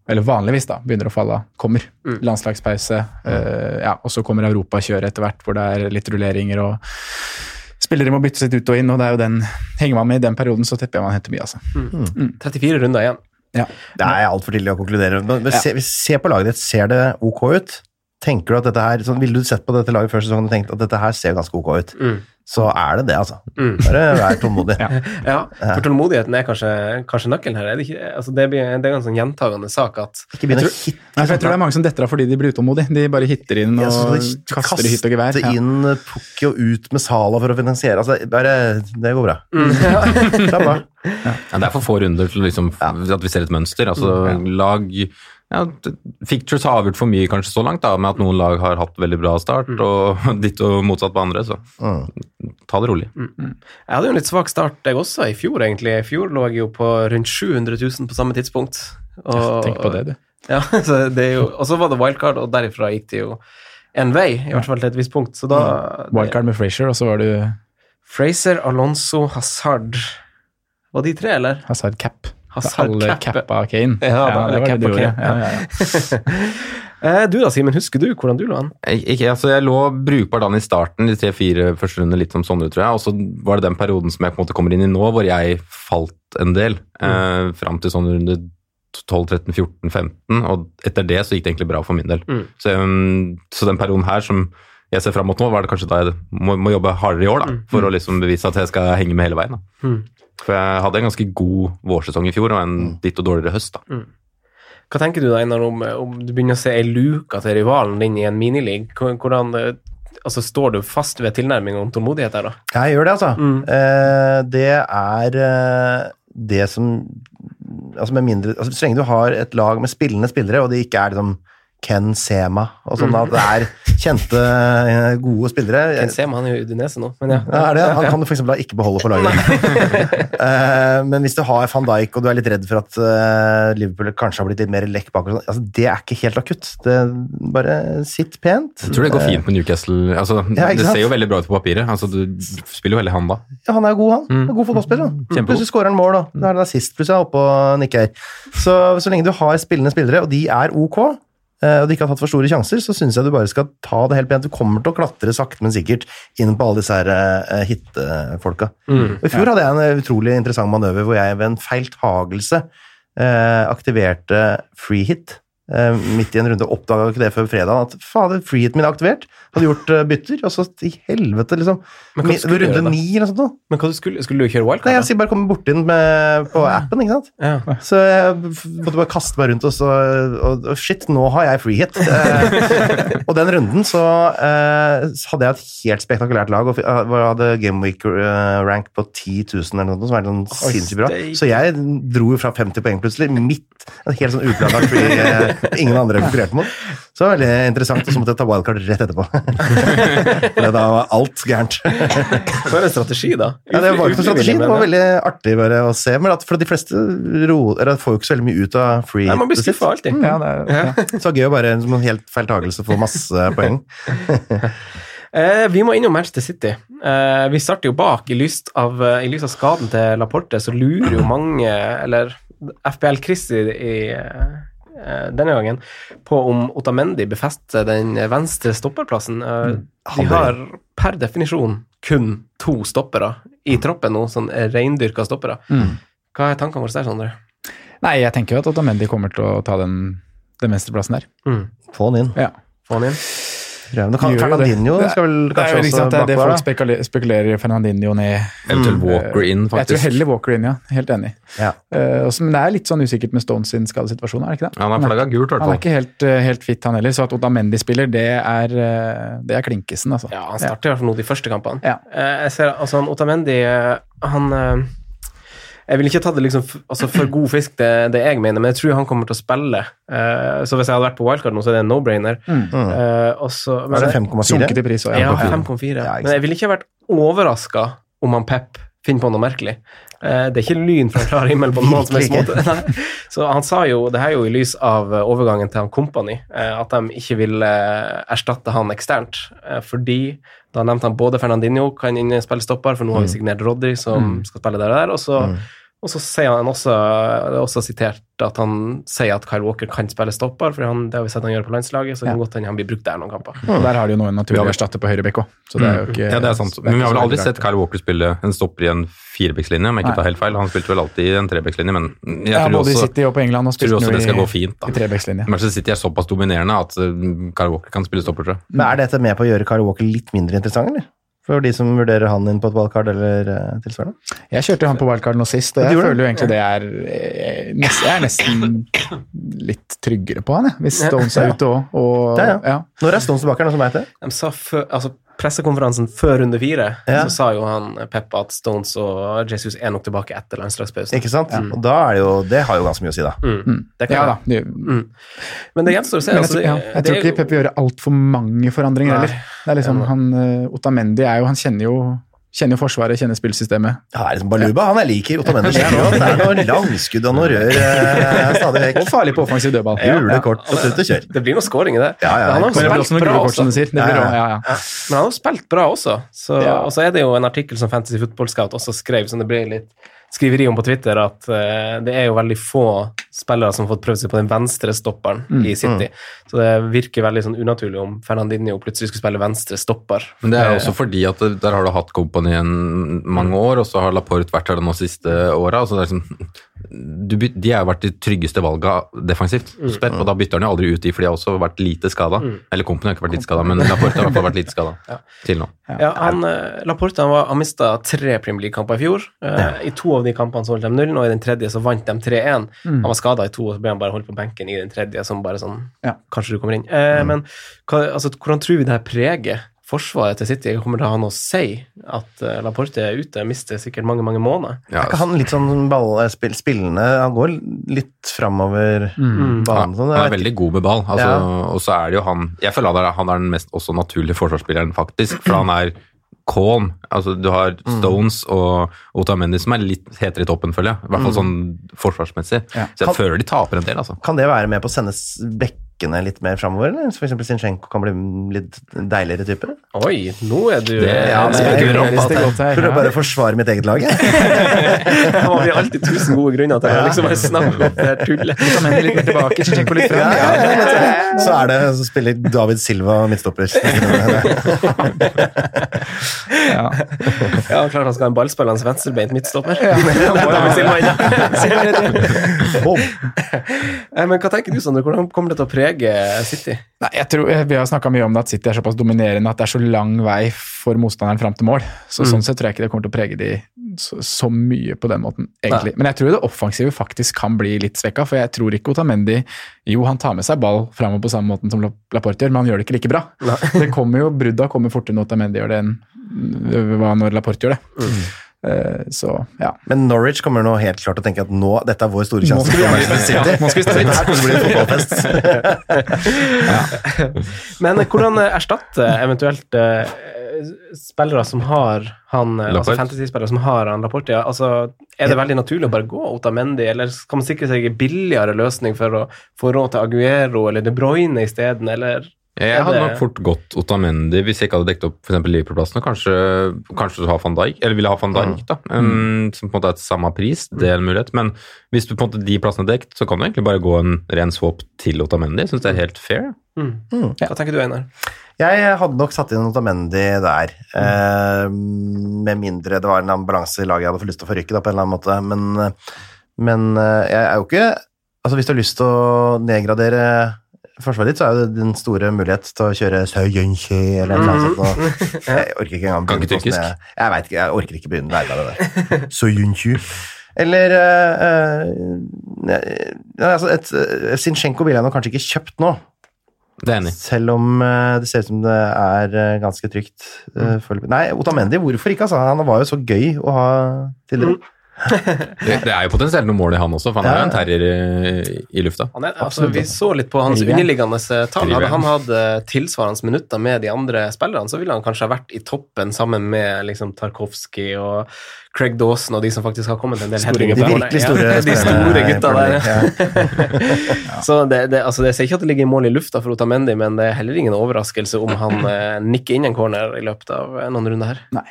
Speaker 2: eller vanligvis da, begynner å falle av. Kommer.
Speaker 1: Mm.
Speaker 2: Landslagspause. eh, ja, og så kommer europakjøret etter hvert, hvor det er litt rulleringer og Spillere må byttes litt ut og inn, og det er jo den, henger man med i den perioden, så tipper jeg man henter mye. altså.
Speaker 3: 34 runder igjen.
Speaker 2: Ja.
Speaker 4: Det er altfor tidlig å konkludere. Men men se, se på laget ditt. Ser det ok ut? Tenker du at dette her, sånn, Ville du sett på dette laget før sesongen og tenkt at dette her ser ganske ok ut,
Speaker 3: Mm.
Speaker 4: så er det det, altså. Bare vær tålmodig.
Speaker 3: Ja, for tålmodigheten er kanskje, kanskje nøkkelen her. Er det, ikke, altså det, blir, det er en sånn gjentagende sak at
Speaker 4: Ikke begynn å hitte altså,
Speaker 2: Nei, for jeg tror det er mange som detter av fordi de blir utålmodige. De bare hitter inn og
Speaker 4: Ja, så det-
Speaker 2: kaster i hytt og gevær.
Speaker 4: Kaste
Speaker 2: Ja.
Speaker 4: inn eh, Pukki og ut med Sala for å finansiere. Altså, bare, det går bra.
Speaker 2: Mm.
Speaker 4: *laughs* Slapp av.
Speaker 1: Ja, det er for få runder til liksom, at vi ser et mønster. Altså, lag ja, d- Fictures har avgjort for mye kanskje så langt, da, med at noen lag har hatt veldig bra start, og *laughs* ditt og motsatt på andre. Så
Speaker 4: Mm.
Speaker 1: ta det rolig.
Speaker 3: Jeg hadde jo en litt svak start, jeg også, i fjor, egentlig. I fjor lå jeg jo på rundt 700 000 på samme tidspunkt. Og,
Speaker 2: Tenk på det, du.
Speaker 3: Ja, *laughs* så det er jo, og så var det wildcard, og derifra gikk det jo en vei, i hvert fall til et visst punkt. Så da
Speaker 2: Wildcard med Frazier, og så var du
Speaker 3: Fraser, Alonso, Hazard Var de tre, eller?
Speaker 2: Hazard Cap.
Speaker 3: Hazard
Speaker 2: alle
Speaker 3: Cap.
Speaker 2: cappa Kane.
Speaker 3: Ja, da,
Speaker 2: det var
Speaker 3: Cap
Speaker 2: det du
Speaker 3: og
Speaker 2: gjorde.
Speaker 3: Kane.
Speaker 2: Ja, ja, ja.
Speaker 3: *laughs* Eh, du da, Simen, husker du hvordan du lå an?
Speaker 1: Jeg, ikke, altså, jeg lå brukbart an i starten, de tre-fire første rundene, litt som Sondre, tror jeg. Og så var
Speaker 4: Mm.
Speaker 1: det den perioden som jeg på en måte kommer inn i nå, hvor jeg falt en del. Eh, fram til sånn runde 12, 13, 14, 15, og etter det så gikk det egentlig bra for min del.
Speaker 3: Mm.
Speaker 1: Så, um, så den perioden her som jeg ser fram mot nå, var det kanskje da jeg må, må jobbe hardere i år, da,
Speaker 4: Mm.
Speaker 1: for å liksom bevise at jeg skal henge med hele veien. Da.
Speaker 3: Mm.
Speaker 1: For jeg hadde en ganske god vårsesong i fjor, og en
Speaker 4: Mm.
Speaker 1: ditto dårligere høst, da.
Speaker 3: Hva tenker du da, Einar, om, eh, om du begynner å se ei luke til rivalen din i en minileague? Hvor- Hvordan, eh, altså, står du fast ved tilnærming og tålmodighet der, da?
Speaker 4: Jeg gjør det, altså.
Speaker 3: Mm.
Speaker 4: Eh, det er eh, det som Altså, med mindre altså, Så lenge du har et lag med spillende spillere, og det ikke er liksom Ken Sema og sånn, at det er kjente, eh, gode spillere
Speaker 3: Jeg ser man er jo i Udinese nå, men ja.
Speaker 4: ja, er det? Han kan du for eksempel da ikke beholde på laget. *laughs* Eh, Men hvis du har van Dijk, og du er litt redd for at eh, Liverpool kanskje har blitt litt mer lekk bak, og sånn, altså, det er ikke helt akutt. Det, bare sitt pent.
Speaker 1: Jeg tror det går fint med Newcastle. Altså,
Speaker 4: Eh. Ja, ikke
Speaker 1: det
Speaker 4: sant?
Speaker 1: ser jo veldig bra ut på papiret. Altså, du spiller jo veldig hand da.
Speaker 4: Ja, han er jo god, han.
Speaker 3: Mm.
Speaker 4: han er god fotballspiller. Da.
Speaker 1: Kjempegod.
Speaker 4: Plutselig skårer han mål, da. Da er det nazist, plutselig er han oppe og nikker. Så, så lenge du har spillende spillere, og de er ok, eh, og de ikke har tatt for store sjanser, så syns jeg du bare skal ta det helt pent. Du kommer til å klatre sakte, men sikkert inn på alle disse her eh, hittefolka.
Speaker 3: Mm.
Speaker 4: Og I fjor hadde jeg en utrolig interessant manøver hvor jeg ved en feiltagelse eh, aktiverte free hit. eh, Midt i en runde oppdaga ikke det før fredag, at fader, free hiten min er aktivert. Hadde gjort eh, bytter, og så i helvete, liksom.
Speaker 3: Men hva
Speaker 4: Min-
Speaker 3: skulle du gjøre da?
Speaker 4: Runde ni eller noe sånt. nå.
Speaker 3: Men hva du skulle, skulle du kjøre
Speaker 4: Nei,
Speaker 3: wildcard?
Speaker 4: jeg sier bare kom borti den med, på appen, ikke sant?
Speaker 3: da? Ja.
Speaker 4: Så jeg måtte bare kaste meg rundt og så og, og Shit, nå har jeg free hit. Eh, og den runden så eh, hadde jeg et helt spektakulært lag og f- eh, hadde Game Week eh, rank på 10 000 eller noe, sånt, som er sånn sinnssykt bra.
Speaker 3: steik.
Speaker 4: Så jeg dro jo fra 50 poeng plutselig, midt en helt sånn uplanlagt free eh, ingen andre konkurrerte mot. Så det var veldig interessant, og så måtte jeg ta wildcard rett etterpå. *laughs* For da var alt gærent.
Speaker 3: For en strategi, da.
Speaker 4: Ja, det var ikke noen strategi.
Speaker 3: Ufrivillig,
Speaker 4: Det var
Speaker 3: mener jeg.
Speaker 4: veldig artig bare å se. Men at for de fleste ro, eller får jo ikke så veldig mye ut av free
Speaker 3: Nei, man blir
Speaker 4: hitet sitt.
Speaker 3: skuffa alltid.
Speaker 2: Ja, det er, ja.
Speaker 4: Så det var gøy å bare som en helt feiltagelse få masse
Speaker 2: *laughs*
Speaker 4: poeng.
Speaker 3: Eh, vi må innom Manchester City. Eh, vi starter jo bak. I lys av, eh, i lys av skaden til Laporte så lurer jo mange, eller FPL Chris i, i eh, denne gangen, på om Otamendi befester den venstre stopperplassen. Eh, de har per definisjon kun to stoppere i troppen nå, sånn reindyrka stoppere.
Speaker 2: Mm.
Speaker 3: Hva er tankene våre der, Sondre?
Speaker 2: Nei, jeg tenker jo at Otamendi kommer til å ta den, den venstreplassen der.
Speaker 3: Mm.
Speaker 4: Få den inn.
Speaker 2: Ja.
Speaker 3: Få han inn.
Speaker 4: Prøv. Men kan,
Speaker 2: Gjør det.
Speaker 4: Fernandinho skal vel
Speaker 2: Det er
Speaker 4: kanskje
Speaker 2: jo ikke
Speaker 4: også
Speaker 2: sant, det, er det
Speaker 4: bakover,
Speaker 2: folk
Speaker 4: da?
Speaker 2: spekulerer, spekulerer Fernandinho ned.
Speaker 1: Eventuelt Walker inn,
Speaker 2: Mm. Jeg tror
Speaker 1: faktisk.
Speaker 2: heller Walker inn, ja. Helt enig.
Speaker 4: Ja.
Speaker 2: Eh, også, men det er litt sånn usikkert med Stones sin skadesituasjon, er det ikke det?
Speaker 1: Ja, han har flagga gult, i
Speaker 2: Han er
Speaker 1: hvert fall.
Speaker 2: ikke helt, eh, helt fit, han heller. Så at Otamendi spiller, det er, eh, det er klinkesen, altså.
Speaker 3: Ja, han starter i hvert fall nå de første kampene.
Speaker 2: Ja.
Speaker 3: Eh, Jeg ser, altså, han Otamendi eh, Han eh, Jeg vil ikke ta det liksom f- altså, for god fisk, det, det jeg mener, men jeg tror han kommer til å spille. Eh, Så hvis jeg hadde vært på wildcard nå, så er det en no-brainer. Eh, og så- men-
Speaker 4: Er det
Speaker 2: Sunket
Speaker 4: 5,4?
Speaker 2: i pris også,
Speaker 3: Ja,
Speaker 2: ja.
Speaker 3: 5,4.
Speaker 4: Ja, ikke sant.
Speaker 3: men jeg ville ikke vært overraska om han Pep finner på noe merkelig. Eh, Det er ikke lyn fra klar himmel på noen som helst
Speaker 4: Virkelig
Speaker 3: måte. *laughs* Nei. Så han sa jo, det her er jo i lys av eh, overgangen til han Company, eh, at de ikke vil eh, erstatte han eksternt. Eh, Fordi da nevnte han både Fernandinho kan inn spille stopper, for nå
Speaker 4: Mm.
Speaker 3: har vi signert Roddy som skal spille der og der. og så og så sier han også, det er også sitert at han sier at Kyle Walker kan spille stopper, for han, det har vi sett han gjør på landslaget, så det kan godt hende han blir brukt der noen kamper.
Speaker 2: Og Der har de jo nå en naturlig erstatter på høyre bekk òg, så det er jo ikke
Speaker 1: Ja, det er sant. Men vi har vel aldri sett Kyle Walker spille en stopper i en firebeckslinje, om jeg ikke tar helt feil. Han spilte vel alltid i en trebeckslinje, men jeg
Speaker 2: ja,
Speaker 1: tror
Speaker 2: både i
Speaker 1: også,
Speaker 2: City og på England og
Speaker 1: tror
Speaker 2: spilte
Speaker 1: også det skal
Speaker 2: jo
Speaker 1: gå
Speaker 2: i,
Speaker 1: fint,
Speaker 2: i
Speaker 1: da.
Speaker 2: trebekslinje.
Speaker 1: Manchester City er såpass dominerende at uh, Kyle Walker kan spille stopper, tror jeg.
Speaker 4: Men er dette med på å gjøre Kyle Walker litt mindre interessant, eller? For de som vurderer han inn på et valgkart eller eh, tilsvarende?
Speaker 2: Jeg kjørte han på wildcard nå sist, og
Speaker 4: Ja,
Speaker 2: jeg
Speaker 4: du gjorde
Speaker 2: føler jo egentlig det er eh, nes- Jeg er nesten litt tryggere på han, jeg, hvis Stones er ute òg. Og,
Speaker 4: Ja, ja.
Speaker 2: ja.
Speaker 4: Når er Stones tilbake, er det noen som vet det?
Speaker 3: De sa før, altså Pressekonferansen før runde fire
Speaker 4: Ja.
Speaker 3: så sa jo han eh, Pep at Stones og Jesus er nok tilbake etter landslagspausen.
Speaker 4: Ikke sant? Og da er det jo Det har jo ganske mye å si, da.
Speaker 3: Det kan
Speaker 2: ja da.
Speaker 3: være.
Speaker 2: Det,
Speaker 3: Men det gjenstår å se.
Speaker 2: men jeg,
Speaker 3: altså,
Speaker 2: tror-
Speaker 3: det-
Speaker 2: ja, jeg
Speaker 3: det
Speaker 2: tror
Speaker 3: er
Speaker 2: ikke
Speaker 3: jo-
Speaker 2: Pep vil gjøre altfor mange forandringer
Speaker 3: Nei.
Speaker 2: heller. Det er liksom, han, eh, Otamendi er jo, han kjenner jo, kjenner jo Forsvaret, kjenner spillsystemet.
Speaker 4: Ja, det er liksom Baluba, han jeg liker. Otamendi skikkelig godt. Det er noe langskudd og noe rør eh, stadig vekk.
Speaker 2: Og farlig på offensiv dødball.
Speaker 4: Hule kort og tut og kjør.
Speaker 3: Det blir noe scoring i det.
Speaker 4: Ja, ja,
Speaker 3: Men han har jo
Speaker 4: det
Speaker 2: Men det blir også
Speaker 3: spilt
Speaker 2: noen
Speaker 3: bra altså.
Speaker 2: gule kort,
Speaker 3: også.
Speaker 2: som du sier. Det
Speaker 4: Ja,
Speaker 2: blir,
Speaker 4: ja.
Speaker 2: også- ja, ja.
Speaker 3: Men han har spilt bra også. Så,
Speaker 2: Ja.
Speaker 3: Og så er det jo en artikkel som Fantasy Football Scout også skrev, som det ble litt skriveri om på Twitter, at eh, det er jo veldig få spillere som har fått prøvd seg på den venstre stopperen
Speaker 4: Mm,
Speaker 3: i City. Så det virker veldig sånn unaturlig om Fernandinho plutselig skulle spille venstre stopper. Eh,
Speaker 1: Men det er jo også fordi at det- der har du hatt Company i en mange år, og så har Laporte vært her de nå siste åra. Så det er liksom, du, byt- de har jo vært de tryggeste valga defensivt. Spilt, Og da bytter han jo aldri ut de, for de har også vært lite skada. Eller Kompen har ikke vært lite skada, men Laporte har i hvert fall vært lite skada til nå.
Speaker 3: Ja, han, eh, Laporte han var, han mista tre Premier League-kamper i fjor. Eh, I to av de kampene så holdt de nullen, og i den tredje så vant de 3-1. Han var skada i to, og så ble han bare holdt på benken i den tredje, som bare sånn
Speaker 2: Ja.
Speaker 3: Kanskje du kommer inn. Eh, Men hva, altså, hvordan tror vi det her preger forsvaret til City? Kommer det til å ha noe å si at eh, Laporte er ute? Mister sikkert mange, mange måneder.
Speaker 1: Ja,
Speaker 4: Er ikke han litt sånn ballspill, spillende Han går litt framover banen. Sånn.
Speaker 1: Han
Speaker 4: Jeg
Speaker 1: er
Speaker 4: vet
Speaker 1: veldig god med ball. Altså,
Speaker 4: Ja.
Speaker 1: Og så er det jo han Jeg føler han er, han er den mest også naturlige forsvarsspilleren, faktisk. For han er calm. Altså, du har
Speaker 4: Mm.
Speaker 1: Stones og Otamendi som er litt hetere i toppen, føler jeg. I hvert
Speaker 4: Mm.
Speaker 1: fall sånn forsvarsmessig. Så jeg
Speaker 4: Kan-
Speaker 1: føler de taper en del, altså.
Speaker 4: ikke. Kan det være med på å sende s- bekkene litt mer framover? F.eks. Zinchenko kan bli en litt deiligere type?
Speaker 3: Oi, nå er du eh,
Speaker 1: Det- ja, det-
Speaker 3: *laughs*
Speaker 4: Jeg
Speaker 1: Spekulerer
Speaker 4: prøver
Speaker 2: visst det
Speaker 4: å-
Speaker 2: godt her,
Speaker 4: prøver
Speaker 2: ja.
Speaker 4: bare å forsvare mitt eget lag. jeg.
Speaker 3: Han har alltid tusen gode grunner til å liksom bare snakke om det her tullet.
Speaker 2: Otamendi litt mer tilbake, Zinchenko litt frem.
Speaker 4: Ja, ja, ja. Så er det så spiller David Silva midtstopper.
Speaker 2: Ja.
Speaker 3: Ja, klart han skal ha en ballspillende venstrebeint midtstopper. *laughs* Han må jo bli Silva inne.
Speaker 4: Boom.
Speaker 3: Eh, Men hva tenker du, Sondre? Hvordan kommer det til å prege City?
Speaker 2: Nei, jeg tror, eh, Vi har snakka mye om det at City er såpass dominerende at det er så lang vei for motstanderen fram til mål. Så Sånn sett tror jeg ikke det kommer til å prege de så, så mye på den måten, egentlig. Men jeg tror det offensive faktisk kan bli litt svekka, for jeg tror ikke Otamendi Jo, han tar med seg ball framover på samme måten som La- Laporte gjør, men han gjør det ikke like bra. *laughs* Det kommer jo, Brudda kommer fortere når Otamendi gjør det, enn hva når Laporte gjør det. Eh, Så ja.
Speaker 4: Men Norwich kommer nå helt klart til å tenke at nå, dette er vår store sjanse. til å være med City.
Speaker 2: Nå skal vi stå
Speaker 4: Her kommer det å bli fotballfest.
Speaker 3: Men eh, hvordan eh, erstatte eventuelt eh, spillere som har han eh, altså
Speaker 1: Laporte?
Speaker 3: fantasy-spillere som har han Laporte? Ja. Altså, er det veldig naturlig å bare gå Otamendi, eller kan man sikre seg en billigere løsning for å få råd til Aguero eller De Bruyne isteden, eller
Speaker 1: Jeg
Speaker 3: Er
Speaker 1: hadde
Speaker 3: det-
Speaker 1: nok fort gått Otamendi hvis jeg ikke hadde dekket opp for eksempel Liverpool-plassen. og Kanskje, kanskje du har van Dijk, eller ville ha van Dijk,
Speaker 4: Mm.
Speaker 1: da, um, som på en måte er til samme pris. Det er en mulighet. Men hvis du på en måte de plassene er dekt, så kan du egentlig bare gå en ren swap til Otamendi. Jeg
Speaker 4: Mm.
Speaker 1: syns det er helt fair.
Speaker 3: Hmm. Hva tenker du, Einar?
Speaker 4: Jeg hadde nok satt inn Otamendi der. Eh, med mindre det var en eller annen balanse i laget jeg hadde fått lyst til å forrykke, da, på en eller annen måte. Men, men eh, jeg er jo ikke Altså, hvis du har lyst til å nedgradere forsvaret ditt, så er jo det din store mulighet til å kjøre Søyenskje eller noe sånt. nå. Jeg orker ikke engang
Speaker 1: Kan ikke
Speaker 4: begynne på
Speaker 1: tyrkisk.
Speaker 4: hvordan Jeg, jeg vet ikke, jeg orker ikke begynne å lære meg det der. *laughs* Søyenskje. Eller eh, eh, ja, altså et, eh, Sinchenko ville jeg nok kanskje ikke kjøpt nå.
Speaker 1: Det er jeg enig. i.
Speaker 4: Selv om eh, det ser ut som det er eh, ganske trygt. eh, foreløpig. Nei, Otamendi, hvorfor ikke? Altså? Han var jo så gøy å ha
Speaker 3: Mm.
Speaker 4: tidligere.
Speaker 1: Det, det er jo potensielt noen mål i han også, for han er jo en terrier eh, i, i lufta.
Speaker 3: Han er, altså, vi så litt på hans
Speaker 2: Skriver.
Speaker 3: underliggende eh, tall. Hadde
Speaker 1: Skriver.
Speaker 3: han hatt eh, tilsvarende minutter med de andre spillerne, så ville han kanskje ha vært i toppen sammen med liksom, Tarkovskij og Craig Dawson og de som faktisk har kommet en del headinger
Speaker 4: De
Speaker 3: på mål.
Speaker 4: virkelig
Speaker 3: Ja,
Speaker 4: store
Speaker 3: *laughs* de store
Speaker 4: spillerne i
Speaker 3: gutta
Speaker 4: Premier
Speaker 3: der.
Speaker 4: League, ja.
Speaker 3: Så det, det, altså, det ser ikke at det ligger mål i lufta for Otamendi, men det er heller ingen overraskelse om han eh, nikker inn en corner i løpet av eh, noen runder her.
Speaker 2: Nei.